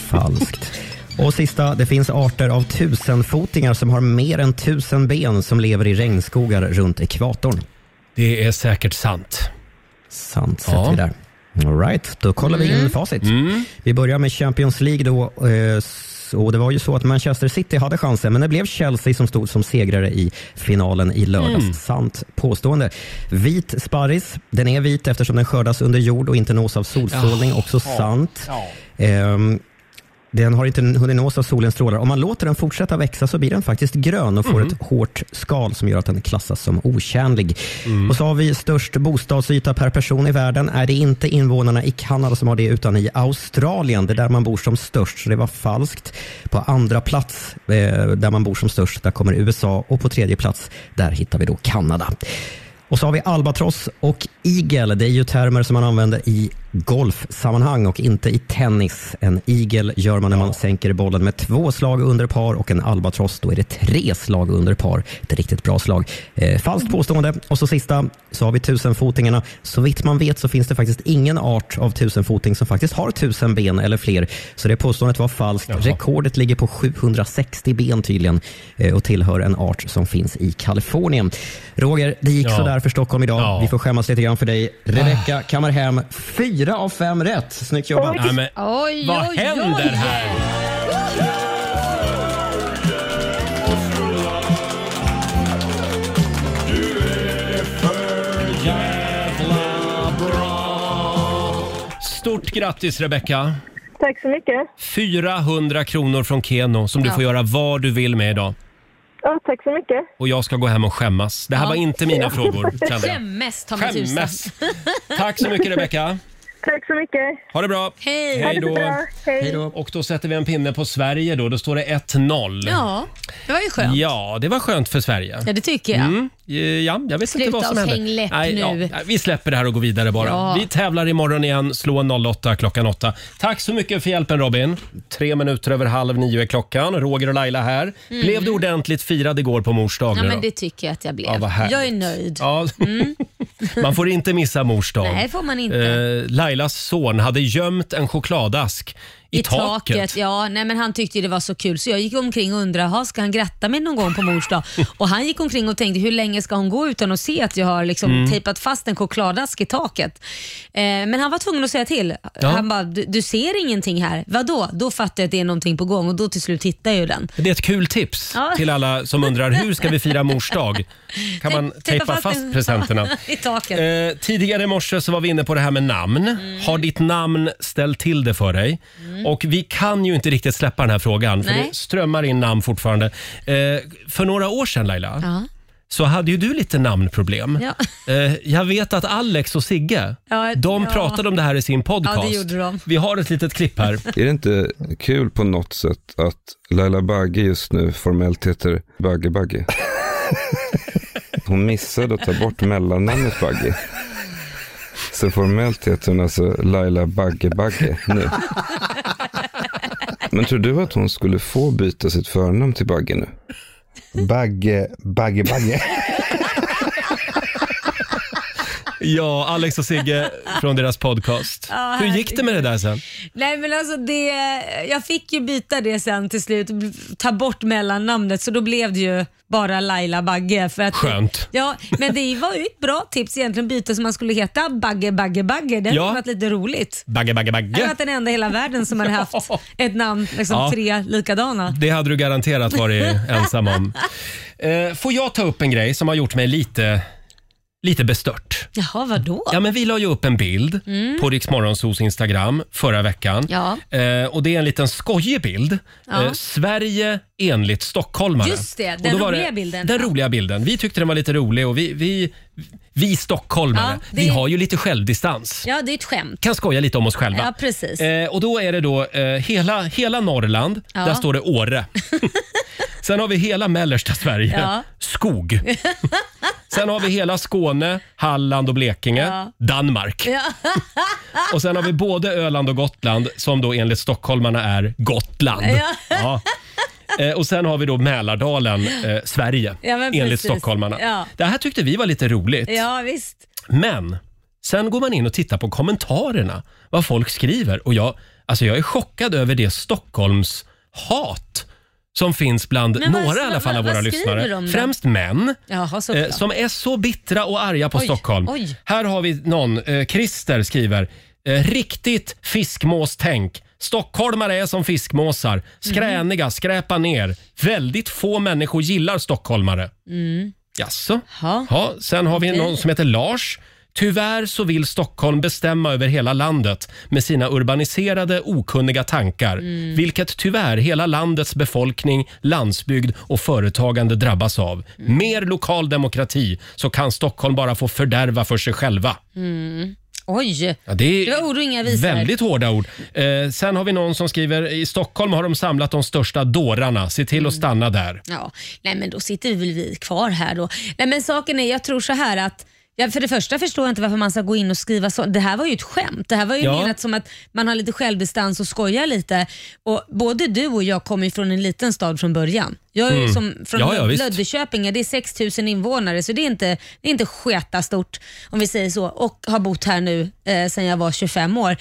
Falskt. Och sista, det finns arter av tusenfotingar som har mer än tusen ben som lever i regnskogar runt ekvatorn.
Det är säkert sant.
Sant sätter
Ja.
vi där. All right, då kollar vi in
Mm.
facit. Vi börjar med Champions League då. eh, s- Och det var ju så att Manchester City hade chansen, men det blev Chelsea som stod som segrare i finalen i lördags.
Mm.
Sant påstående. Vit sparris, den är vit eftersom den skördas under jord och inte nås av solstrålning.
Ah.
Ja.
Också
Ja.
sant.
Ja.
Ehm, den har inte hunnit nås av solens strålar. Om man låter den fortsätta växa så blir den faktiskt grön och får
Mm.
ett hårt skal som gör att den klassas som otjänlig.
Mm.
Och så har vi störst bostadsyta per person i världen. Är det inte invånarna i Kanada som har det utan i Australien. Det är där man bor som störst, så det var falskt. På andra plats eh, där man bor som störst, där kommer USA och på tredje plats där hittar vi då Kanada. Och så har vi albatross och igel. Det är ju termer som man använder i golfsammanhang och inte i tennis. En igel gör man när man sänker bollen med två slag under par och en albatross då är det tre slag under par. Det är riktigt bra slag. Eh, falskt påstående. Och så sista så har vi tusenfotingarna. Så vitt man vet så finns det faktiskt ingen art av tusenfoting som faktiskt har tusen ben eller fler. Så det påståendet var falskt. Rekordet ligger på 760 ben tydligen eh, och tillhör en art som finns i Kalifornien. Roger, det gick
Ja.
sådär för Stockholm idag. Vi får skämmas lite grann för dig. Rebecka kammar hem fyra av fem rätt. Snyggt jobbat.
Nej, men, vad händer här? Stort grattis Rebecka!
Tack så mycket.
400 kronor från Keno som du
Ja.
får göra vad du vill med idag.
Ja, tack så mycket.
Och jag ska gå hem och skämmas. Det här var inte mina frågor kände jag.
Skämmes ta mig tusan.
Skämmes. <laughs> Tack så mycket Rebecka!
Tack så mycket.
Ha det bra!
Hej.
Hej
Ha det
då!
bra. Hej. Hej då.
Och då sätter vi en pinne på Sverige då. Då står det 1-0.
Ja, det var ju skönt.
Ja, det var skönt för Sverige.
Ja, det tycker jag.
Mm, eh, ja, jag vet
Sluta
inte vad som
och
hände.
häng läpp
ja,
nu.
nej, vi släpper det här och går vidare bara.
Ja.
Vi tävlar imorgon igen. Slå en 08 klockan 8. Tack så mycket för hjälpen Robin. Tre minuter över halv nio är klockan. Roger och Laila här.
Mm.
Blev du ordentligt firad igår på mors dag?
Ja,
nu
men
då?
det tycker jag att jag blev.
Ja, vad härligt.
jag är nöjd. Mm.
Ja. <laughs> man får inte missa mors dag.
Nej, får man inte.
Eh, Lailas son hade gömt en chokladask i, taket.
Ja, nej, men han tyckte ju det var så kul så jag gick omkring och undrade, "Ha, ska han gratta mig någon gång på mors
<laughs>
dag? och han gick omkring och tänkte, hur länge ska hon gå utan att se att jag har liksom
Mm.
tejpat fast en chokladask i taket? Eh, men han var tvungen att säga till.
Ja.
Han bara, du, du ser ingenting här. Vadå? Då fattar jag att det är någonting på gång och då till slut hittar jag ju den.
Det är ett kul tips
Ja.
till alla som undrar hur ska vi fira mors dag? Kan man tejpa
en-
fast presenterna?
<laughs> I taket. Mm.
Eh, tidigare i morse så var vi inne på det här med namn. Har ditt namn ställt till det för dig? Och vi kan ju inte riktigt släppa den här frågan för
Nej.
det strömmar in namn fortfarande. Eh, för några år sedan Laila,
Ja.
så hade ju du lite namnproblem.
Ja.
Eh, jag vet att Alex och Sigge,
Ja,
de
ja.
pratade om det här i sin podcast.
Ja, det gjorde de.
Vi har ett litet klipp här.
Är det inte kul på något sätt att Laila Bagge just nu formellt heter Bagge Bagge? Hon missade att ta bort mellannamnet Bagge. Så formellt heter hon alltså Laila Bagge Bagge nu. Men tror du att hon skulle få byta sitt förnamn till Bagge nu? Bagge, Bagge, Bagge.
Ja, Alex och Sigge från deras podcast.
Ja,
Hur gick det med det där sen?
Nej men alltså det, jag fick ju byta det sen till slut, b- ta bort mellannamnet så då blev det ju bara Laila Bagge. För att,
Skönt.
Ja, men det var ju ett bra tips egentligen, byta så man skulle heta Bagge Bagge Bagge. Det hade
Ja.
varit lite roligt.
Bagge, bagge,
Det hade
bagge.
varit den enda i hela världen som hade
<laughs>
haft ett namn, liksom
Ja.
tre likadana.
Det hade du garanterat
<laughs>
varit ensam om. Eh, får jag ta upp en grej som har gjort mig lite, lite bestört?
Jaha, vadå?
Ja, men vi la ju upp en bild
Mm.
på Rix Morgonzos Instagram förra veckan.
Ja.
Eh, och det är en liten skojig bild.
Ja.
Eh, Sverige enligt stockholmare.
Just det,
Och
den
då var
roliga bilden.
Den roliga bilden. Vi tyckte den var lite rolig och vi, vi, vi stockholmare,
Ja, det-
vi har ju lite självdistans.
Ja, det är ett skämt.
Kan skoja lite om oss själva.
Ja, precis.
Eh, och då är det då eh, hela, hela Norrland,
Ja.
där står det
<laughs>
Åre. Sen har vi hela mellersta Sverige,
Ja. <laughs>
skog. Sen har vi hela Skåne, Halland och Blekinge,
Ja.
Danmark.
Ja.
<laughs> Och sen har vi både Öland och Gotland som då enligt stockholmarna är Gotland.
Ja.
Ja. Eh, Och sen har vi då Mälardalen, eh, Sverige,
Ja, men
enligt
precis.
stockholmarna.
Ja.
Det här tyckte vi var lite roligt.
Ja, visst.
Men sen går man in och tittar på kommentarerna, vad folk skriver. Och jag, alltså jag är chockad över det Stockholms hat som finns bland
Men vad-
några i alla fall av
vad-
våra
vad skriver
lyssnare.
de då?
Främst män.
Jaha, såklart.
Eh, som är så bittra och arga på
Oj,
Stockholm.
oj.
Här har vi någon, eh, Christer skriver. Eh, riktigt fiskmåstänk. Stockholmare är som fiskmåsar. Skräniga, skräpa ner. Väldigt få människor gillar stockholmare.
Mm.
Jaså? Ja, sen har vi
Okej.
någon som heter Lars. Tyvärr så vill Stockholm bestämma över hela landet med sina urbaniserade, okunniga tankar.
Mm.
Vilket tyvärr hela landets befolkning, landsbygd och företagande drabbas av.
Mm.
Mer lokal demokrati så kan Stockholm bara få fördärva för sig själva.
Mm. Oj,
Ja, det är
det var ord och inga visor.
Väldigt hårda ord. Eh, sen har vi någon som skriver i Stockholm har de samlat de största dårarna. Se till
Mm.
att stanna där.
Ja, nej men då sitter väl vi kvar här då. Nej men saken är, jag tror så här att Ja, för det första förstår jag inte varför man ska gå in och skriva så. Det här var ju ett skämt. Det här var ju
Ja.
menat som att man har lite självdistans och skojar lite. Och Både du och jag kommer ju från en liten stad från början. Jag är ju
Mm.
som från
Ja, ja, visst.
Löddeköpinge, det är 6 000 invånare så det är inte, det är inte sketa stort om vi säger så. Och har bott här nu eh, sedan jag var 25 år.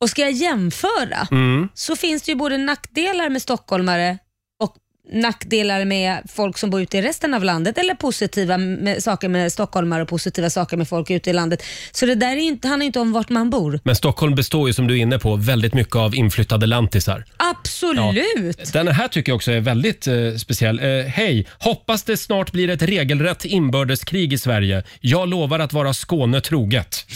Och ska jag jämföra
Mm.
så finns det ju både nackdelar med stockholmare och nackdelar med folk som bor ute i resten av landet eller positiva med, saker med stockholmare och positiva saker med folk ute i landet. Så det där är ju inte, handlar ju inte om vart man bor.
Men Stockholm består ju som du är inne på väldigt mycket av inflyttade lantisar.
Absolut!
Den här tycker jag också är väldigt eh, speciell. Eh, Hej! Hoppas det snart blir ett regelrätt inbördeskrig i Sverige. Jag lovar att vara Skåne troget.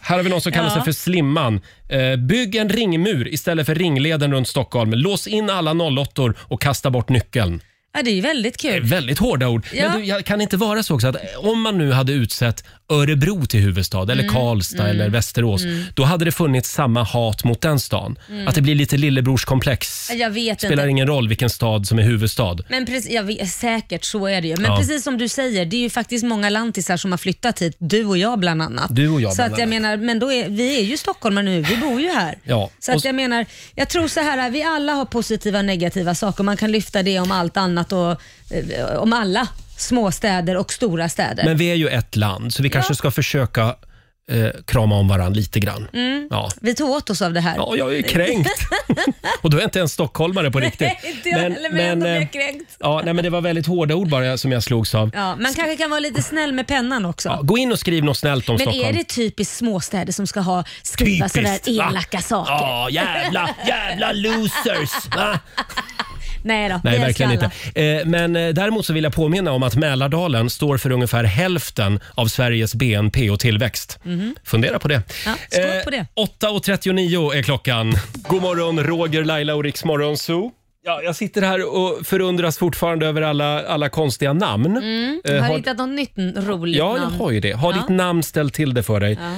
här har vi någon som kallar
Ja.
sig för Slimman. Eh, bygg en ringmur istället för ringleden runt Stockholm. Lås in alla 08 och kasta bort nyckeln.
Ja, det är ju väldigt kul.
Väldigt hårda ord.
Ja.
Men du, jag kan inte vara så också att eh, om man nu hade utsett Örebro till huvudstad eller
Mm,
Karlstad
mm,
eller Västerås,
mm.
då hade det funnits samma hat mot den stan.
Mm.
Att det blir lite lillebrorskomplex.
Jag vet
Spelar
inte.
ingen roll vilken stad som är huvudstad.
Men precis, jag vet, säkert så är det ju. Men
Ja.
precis som du säger, det är ju faktiskt många lantisar som har flyttat hit. Du och jag bland annat.
Du och jag
så
bland
att jag
annat.
menar, men då är, vi är ju stockholmare nu, vi bor ju här.
Ja.
Så att
och,
jag menar, jag tror så här, vi alla har positiva och negativa saker. Man kan lyfta det om allt annat och eh, om alla småstäder och stora städer.
men vi är ju ett land, så vi kanske ska försöka eh, krama om varandra lite grann.
Mm.
Ja.
Vi tog åt oss av det här.
ja, jag är
<laughs>
kränkt. och då är jag inte ens stockholmare på riktigt.
Nej, inte jag heller, men jag ändå
eh,
blev kränkt.
Ja, nej, men det var väldigt hårda ord bara som jag slogs av.
Ja, man kanske kan vara lite snäll med pennan också.
Ja, Gå in och skriv något snällt om
men
Stockholm.
är det typiskt småstäder som ska ha skriva sådär
Typiskt, va?
elaka saker?
Ja, jävla, jävla losers!
<laughs>
Va?
Nej då,
Nej,
vi älskar
verkligen
alla.
inte. Eh, Men eh, däremot så vill jag påminna om att Mälardalen står för ungefär hälften av Sveriges BNP och tillväxt.
Mhm.
Fundera på det.
Ja, skål
Eh,
på det.
8.39 är klockan. God morgon, Roger, Laila och Riks Morgonzoo. Ja, jag sitter här och förundras fortfarande över alla, alla konstiga namn.
Mm.
Eh,
har
har-
du hittat något nytt n- roligt
Ja, jag
namn?
har ju det. Har
Ja.
ditt namn ställt till det för dig?
Ja.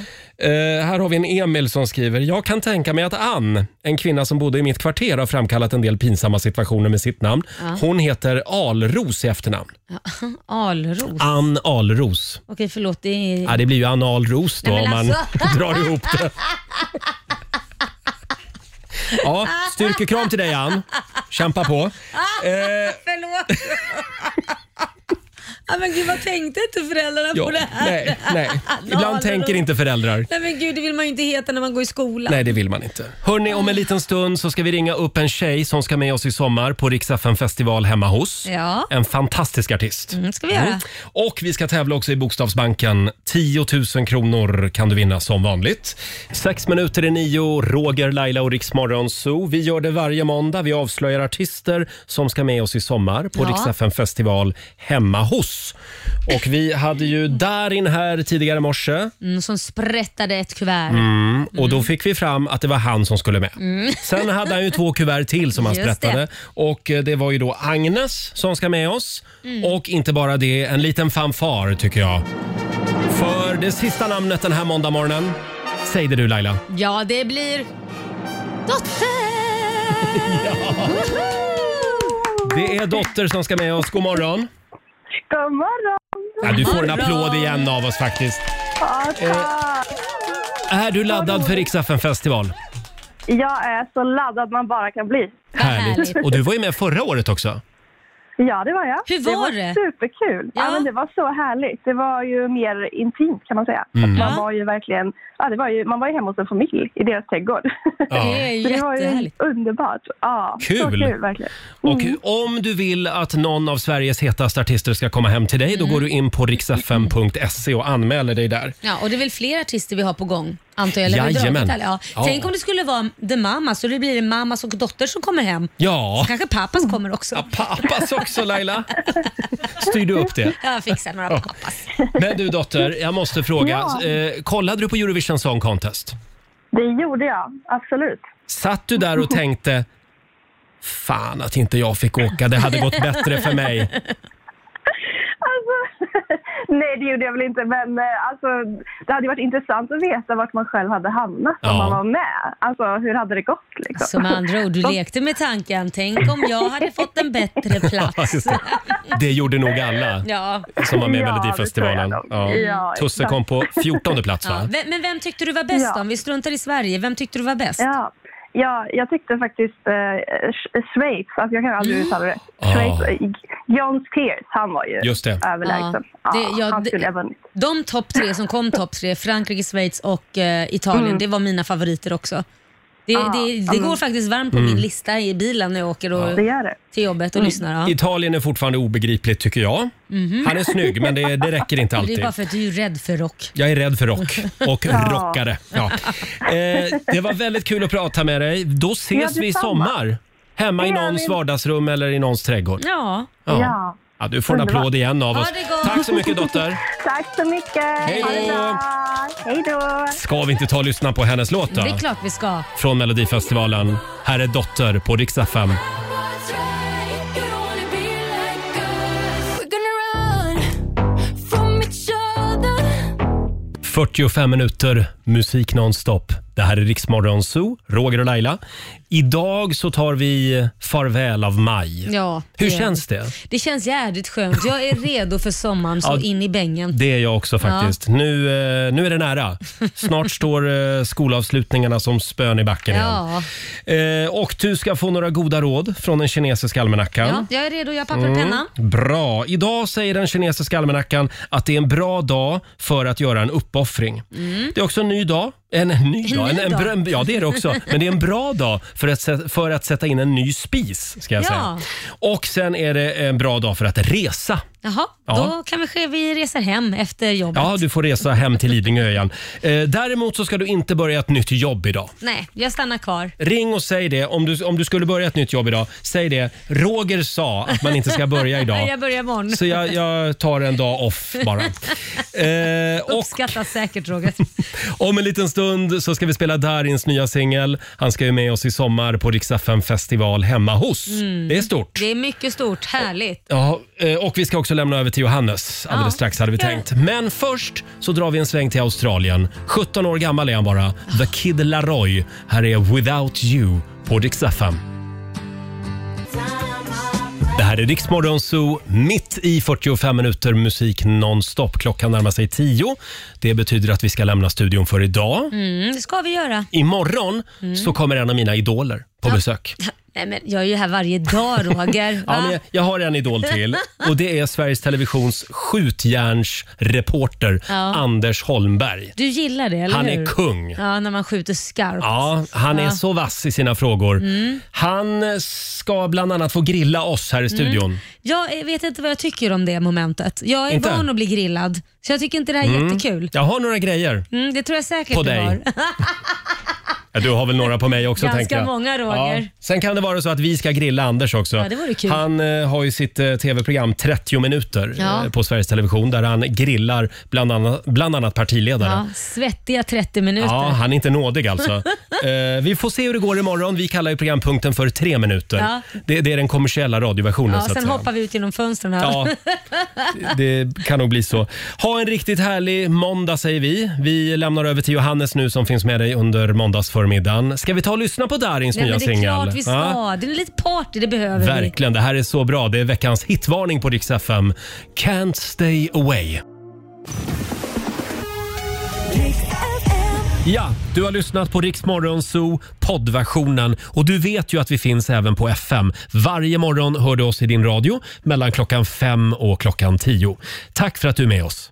Eh, här har vi en Emil som skriver. Jag kan tänka mig att Ann, en kvinna som bodde i mitt kvarter, har framkallat en del pinsamma situationer med sitt namn.
Ja.
Hon heter Alros i efternamn.
Alros.
Ann Alros.
Okej, förlåt. Det är...
Ja, det blir ju Ann Alros då
Nej,
om
men
man
alltså.
drar ihop det. Ja, styrkekram till dig Ann. Kämpa på.
Förlåt. <laughs> Ja, men gud, vad tänkte inte föräldrarna
Ja,
på det här?
nej,
<laughs>
nej.
Galor.
Ibland tänker inte föräldrar.
Nej men gud, det vill man ju inte heta när man går i skolan.
Nej, det vill man inte. Hörni, om en liten stund så ska vi ringa upp en tjej som ska med oss i sommar på Rix FM festival hemma hos.
Ja.
En fantastisk artist.
Mm, ska vi göra.
Och vi ska tävla också i Bokstavsbanken. 10 000 kronor kan du vinna som vanligt. Sex minuter i nio, Roger, Laila och Rix Morgonzoo. Vi gör det varje måndag. Vi avslöjar artister som ska med oss i sommar på
Ja.
Rix FM festival hemma hos. Och vi hade ju Darin här tidigare i morse.
Mm, som sprättade ett kuvert.
Mm, och då fick vi fram att det var han som skulle med.
Mm.
<laughs> Sen hade han ju två kuvert till som han
Just det.
sprättade. Och eh, det var ju då Agnes som ska med oss.
Mm.
Och inte bara det, en liten fanfar tycker jag. För det sista namnet den här måndagmorgonen. Säg det du Laila. <laughs>
Ja, det blir... Dotter!
Det är Dotter som ska med oss. God morgon.
God morgon!
Ja, du får en applåd igen av oss faktiskt.
Ja, tack.
Är du laddad för Rix festival
Jag är så laddad man bara kan bli.
Härligt. Och du var ju med förra året också.
Ja, det var jag.
Hur
det?
var
var
det?
superkul. Ja. men det var så härligt. Det var ju mer intimt kan man säga.
Mm.
Att Man
Ja.
var ju verkligen, ja, det var ju, man var ju hemma hos en familj i deras trädgård.
Ja. Det
är
<laughs> Så det var ju
jättehärligt.
underbart. Ja, Så
Kul.
kul verkligen.
Och
Mm.
om du vill att någon av Sveriges hetaste artister ska komma hem till dig, då går du in på riksfm.se och anmäler dig där.
Ja, och det är väl fler artister vi har på gång, antar jag? Eller har vi
Jajamän.
dragit alla? Ja.
Ja.
Tänk om det skulle vara The Mamas och det blir Mamas och Dotter som kommer hem.
Ja,
Så kanske pappas kommer också. Ja,
pappas också Laila. styr du upp det?
Jag fixar några
Ja.
pappas.
Men du dotter, jag måste fråga.
Ja.
Eh, kollade du på Eurovision Song Contest?
Det gjorde jag, absolut.
Satt du där och tänkte Fan att inte jag fick åka, det hade gått bättre för mig.
Alltså, <laughs> nej, det gjorde jag väl inte, men eh, alltså, det hade ju varit intressant att veta vart man själv hade hamnat om
Ja.
man var med. Alltså, hur hade det gått? Liksom?
Som andra ord, du lekte med tanken. Tänk om jag hade fått en bättre
<laughs>
plats.
Just det. det gjorde nog alla
Ja.
som var med i
Ja, det
Melodifestivalen.
tror jag
Ja.
nog. Ja,
Tusse
exakt.
kom på 14 plats
Ja.
va?
Vem- Men vem tyckte du var bäst då? Om vi struntar i Sverige, vem tyckte du var bäst?
Ja, ja jag tyckte faktiskt eh, Sch- Schweiz, alltså jag kan
Mm.
aldrig uttala det.
Ah.
Schweiz, eh, John Tears, han var ju
Just det.
överlägsen.
Ja.
Ja.
Det- ja,
han
det-
skulle ha vunnit.
De topp tre som kom topp tre, Frankrike, Schweiz och eh, Italien,
Mm.
det var mina favoriter också. Det,
Ja,
det, det
ja, men-
går faktiskt varmt på
Mm.
min lista i bilen när jag åker och,
Det gör det.
till jobbet och lyssnar. Ja.
Italien är fortfarande obegripligt tycker jag.
Mhm.
Han är snygg men det, det räcker
<laughs>
inte
Det är
alltid.
bara för att du är rädd för rock.
Jag är rädd för
<laughs>
rock och
Ja.
rockare. Ja. Eh, det var väldigt kul att prata med dig. Då ses
Ja,
vi i
detsamma.
sommar. Hemma i
Det gör
någons
vi.
vardagsrum eller i någons trädgård.
Ja.
Ja. Ja, du får en
Underbart.
applåd igen av
Ha
oss.
det gott.
Tack så mycket
<laughs>
dotter.
Tack så mycket!
Hej
Ha det
då.
bra. Hej då!
Ska vi inte ta och lyssna på hennes låt
Det
då?
är klart vi ska.
Från Melodifestivalen. Här är Dotter på Rix FM.
We're gonna run from each other
45 minuter musik nonstop. Det här är Riksmorgon Zoo, Roger och Laila. Idag så tar vi farväl av maj.
Ja,
Hur
det gör
känns
vi.
det?
Det känns jädrigt skönt. Jag är redo för sommaren så
Ja,
in i bängen.
Det är jag också faktiskt. Nu, eh, nu är det
<laughs>
nära. Snart står eh, skolavslutningarna som spön i backen
Ja.
igen. Eh, och du ska få några goda råd från den kinesiska
Ja,
almanackan.
jag är redo. Jag har papper och
Mm,
penna.
Bra. Idag säger den kinesiska almanackan att det är en bra dag för att göra en uppoffring.
Mm.
Det är också en ny dag. En ny
En
dag? En,
ny
en,
dag.
brö- ja, det är det också. Men det är en bra dag för att, sä- för att sätta in en ny spis. Ska jag
Ja.
säga. Och sen är det en bra dag för att resa.
Jaha,
Ja.
då kan vi, ske, vi reser hem efter jobbet.
Ja, du får resa hem till Lidingö igen. Eh, däremot så ska du inte börja ett nytt jobb idag.
Nej, jag stannar kvar.
Ring och säg det. Om du, om du skulle börja ett nytt jobb idag, säg det. Roger sa att man inte ska
<laughs>
börja
jag
idag.
börjar imorgon.
Så jag, jag tar en dag off
<laughs>
bara. Eh, och
Uppskattas säkert Roger.
om en liten stund så ska vi spela Darins nya singel. Han ska ju med oss i sommar på Rix FM festival hemma hos.
Mm.
Det är stort.
Det är mycket stort. Härligt.
Ja, eh, och vi ska också lämna över till Johannes alldeles
Ja,
strax hade vi
gör
tänkt. Men först så drar vi en sväng till Australien. 17 år gammal är han bara. The Kid Laroi. Här är Without You på Dix FM. Det här är Rix Morgon Zoo, mitt i 45 minuter musik nonstop. Klockan närmar sig 10. Det betyder att vi ska lämna studion för idag.
Mm, det ska vi göra.
Imorgon
Mm.
så kommer en av mina idoler på besök.
Nej, men jag är ju här varje dag Roger.
<laughs> Ja,
Va?
men jag, jag har en idol
<laughs>
till och det är Sveriges Televisions skjutjärnsreporter
Ja.
Anders Holmberg.
Du gillar det, eller
Han är
hur?
kung.
Ja, när man skjuter skarpt.
Ja, han är
Ja.
så vass i sina frågor.
Mm.
Han ska bland annat få grilla oss här i studion.
Mm. Jag vet inte vad jag tycker om det momentet. Jag är
Inte?
van att bli grillad, så jag tycker inte det här är
Mm.
jättekul.
Jag har några grejer.
Mm, det tror jag säkert
På
du
dig.
har.
Ja, du har väl några på mig också
Ganska
tänker jag.
många, Roger.
Sen kan det vara så att vi ska grilla Anders också.
Ja, det vore kul.
Han eh, har ju sitt eh, tv-program 30 minuter
Ja.
eh, på Sveriges Television där han grillar bland annat, bland annat partiledare.
Ja, svettiga 30 minuter.
Ja, han är inte nådig
<laughs>
alltså. Eh, vi får se hur det går imorgon. Vi kallar ju programpunkten för tre minuter.
Ja.
Det, det är den kommersiella radioversionen
Ja,
så att
sen
säga.
hoppar vi ut genom fönstren här.
Ja. Det kan nog bli så. Ha en riktigt härlig måndag säger vi. Vi lämnar över till Johannes nu som finns med dig under måndagsförmiddagen. Ska vi ta och lyssna på Darins
Nej,
nya
men det är
singel?
klart vi ska.
Ja,
Det är lite party, det behöver vi.
verkligen, det här är så bra. Det är veckans hitvarning på Rix FM. Can't stay away. Ja, du har lyssnat på Rix Morgon Zoo poddversionen och du vet ju att vi finns även på FM. Varje morgon hör du oss i din radio mellan klockan fem och klockan tio. Tack för att du är med oss.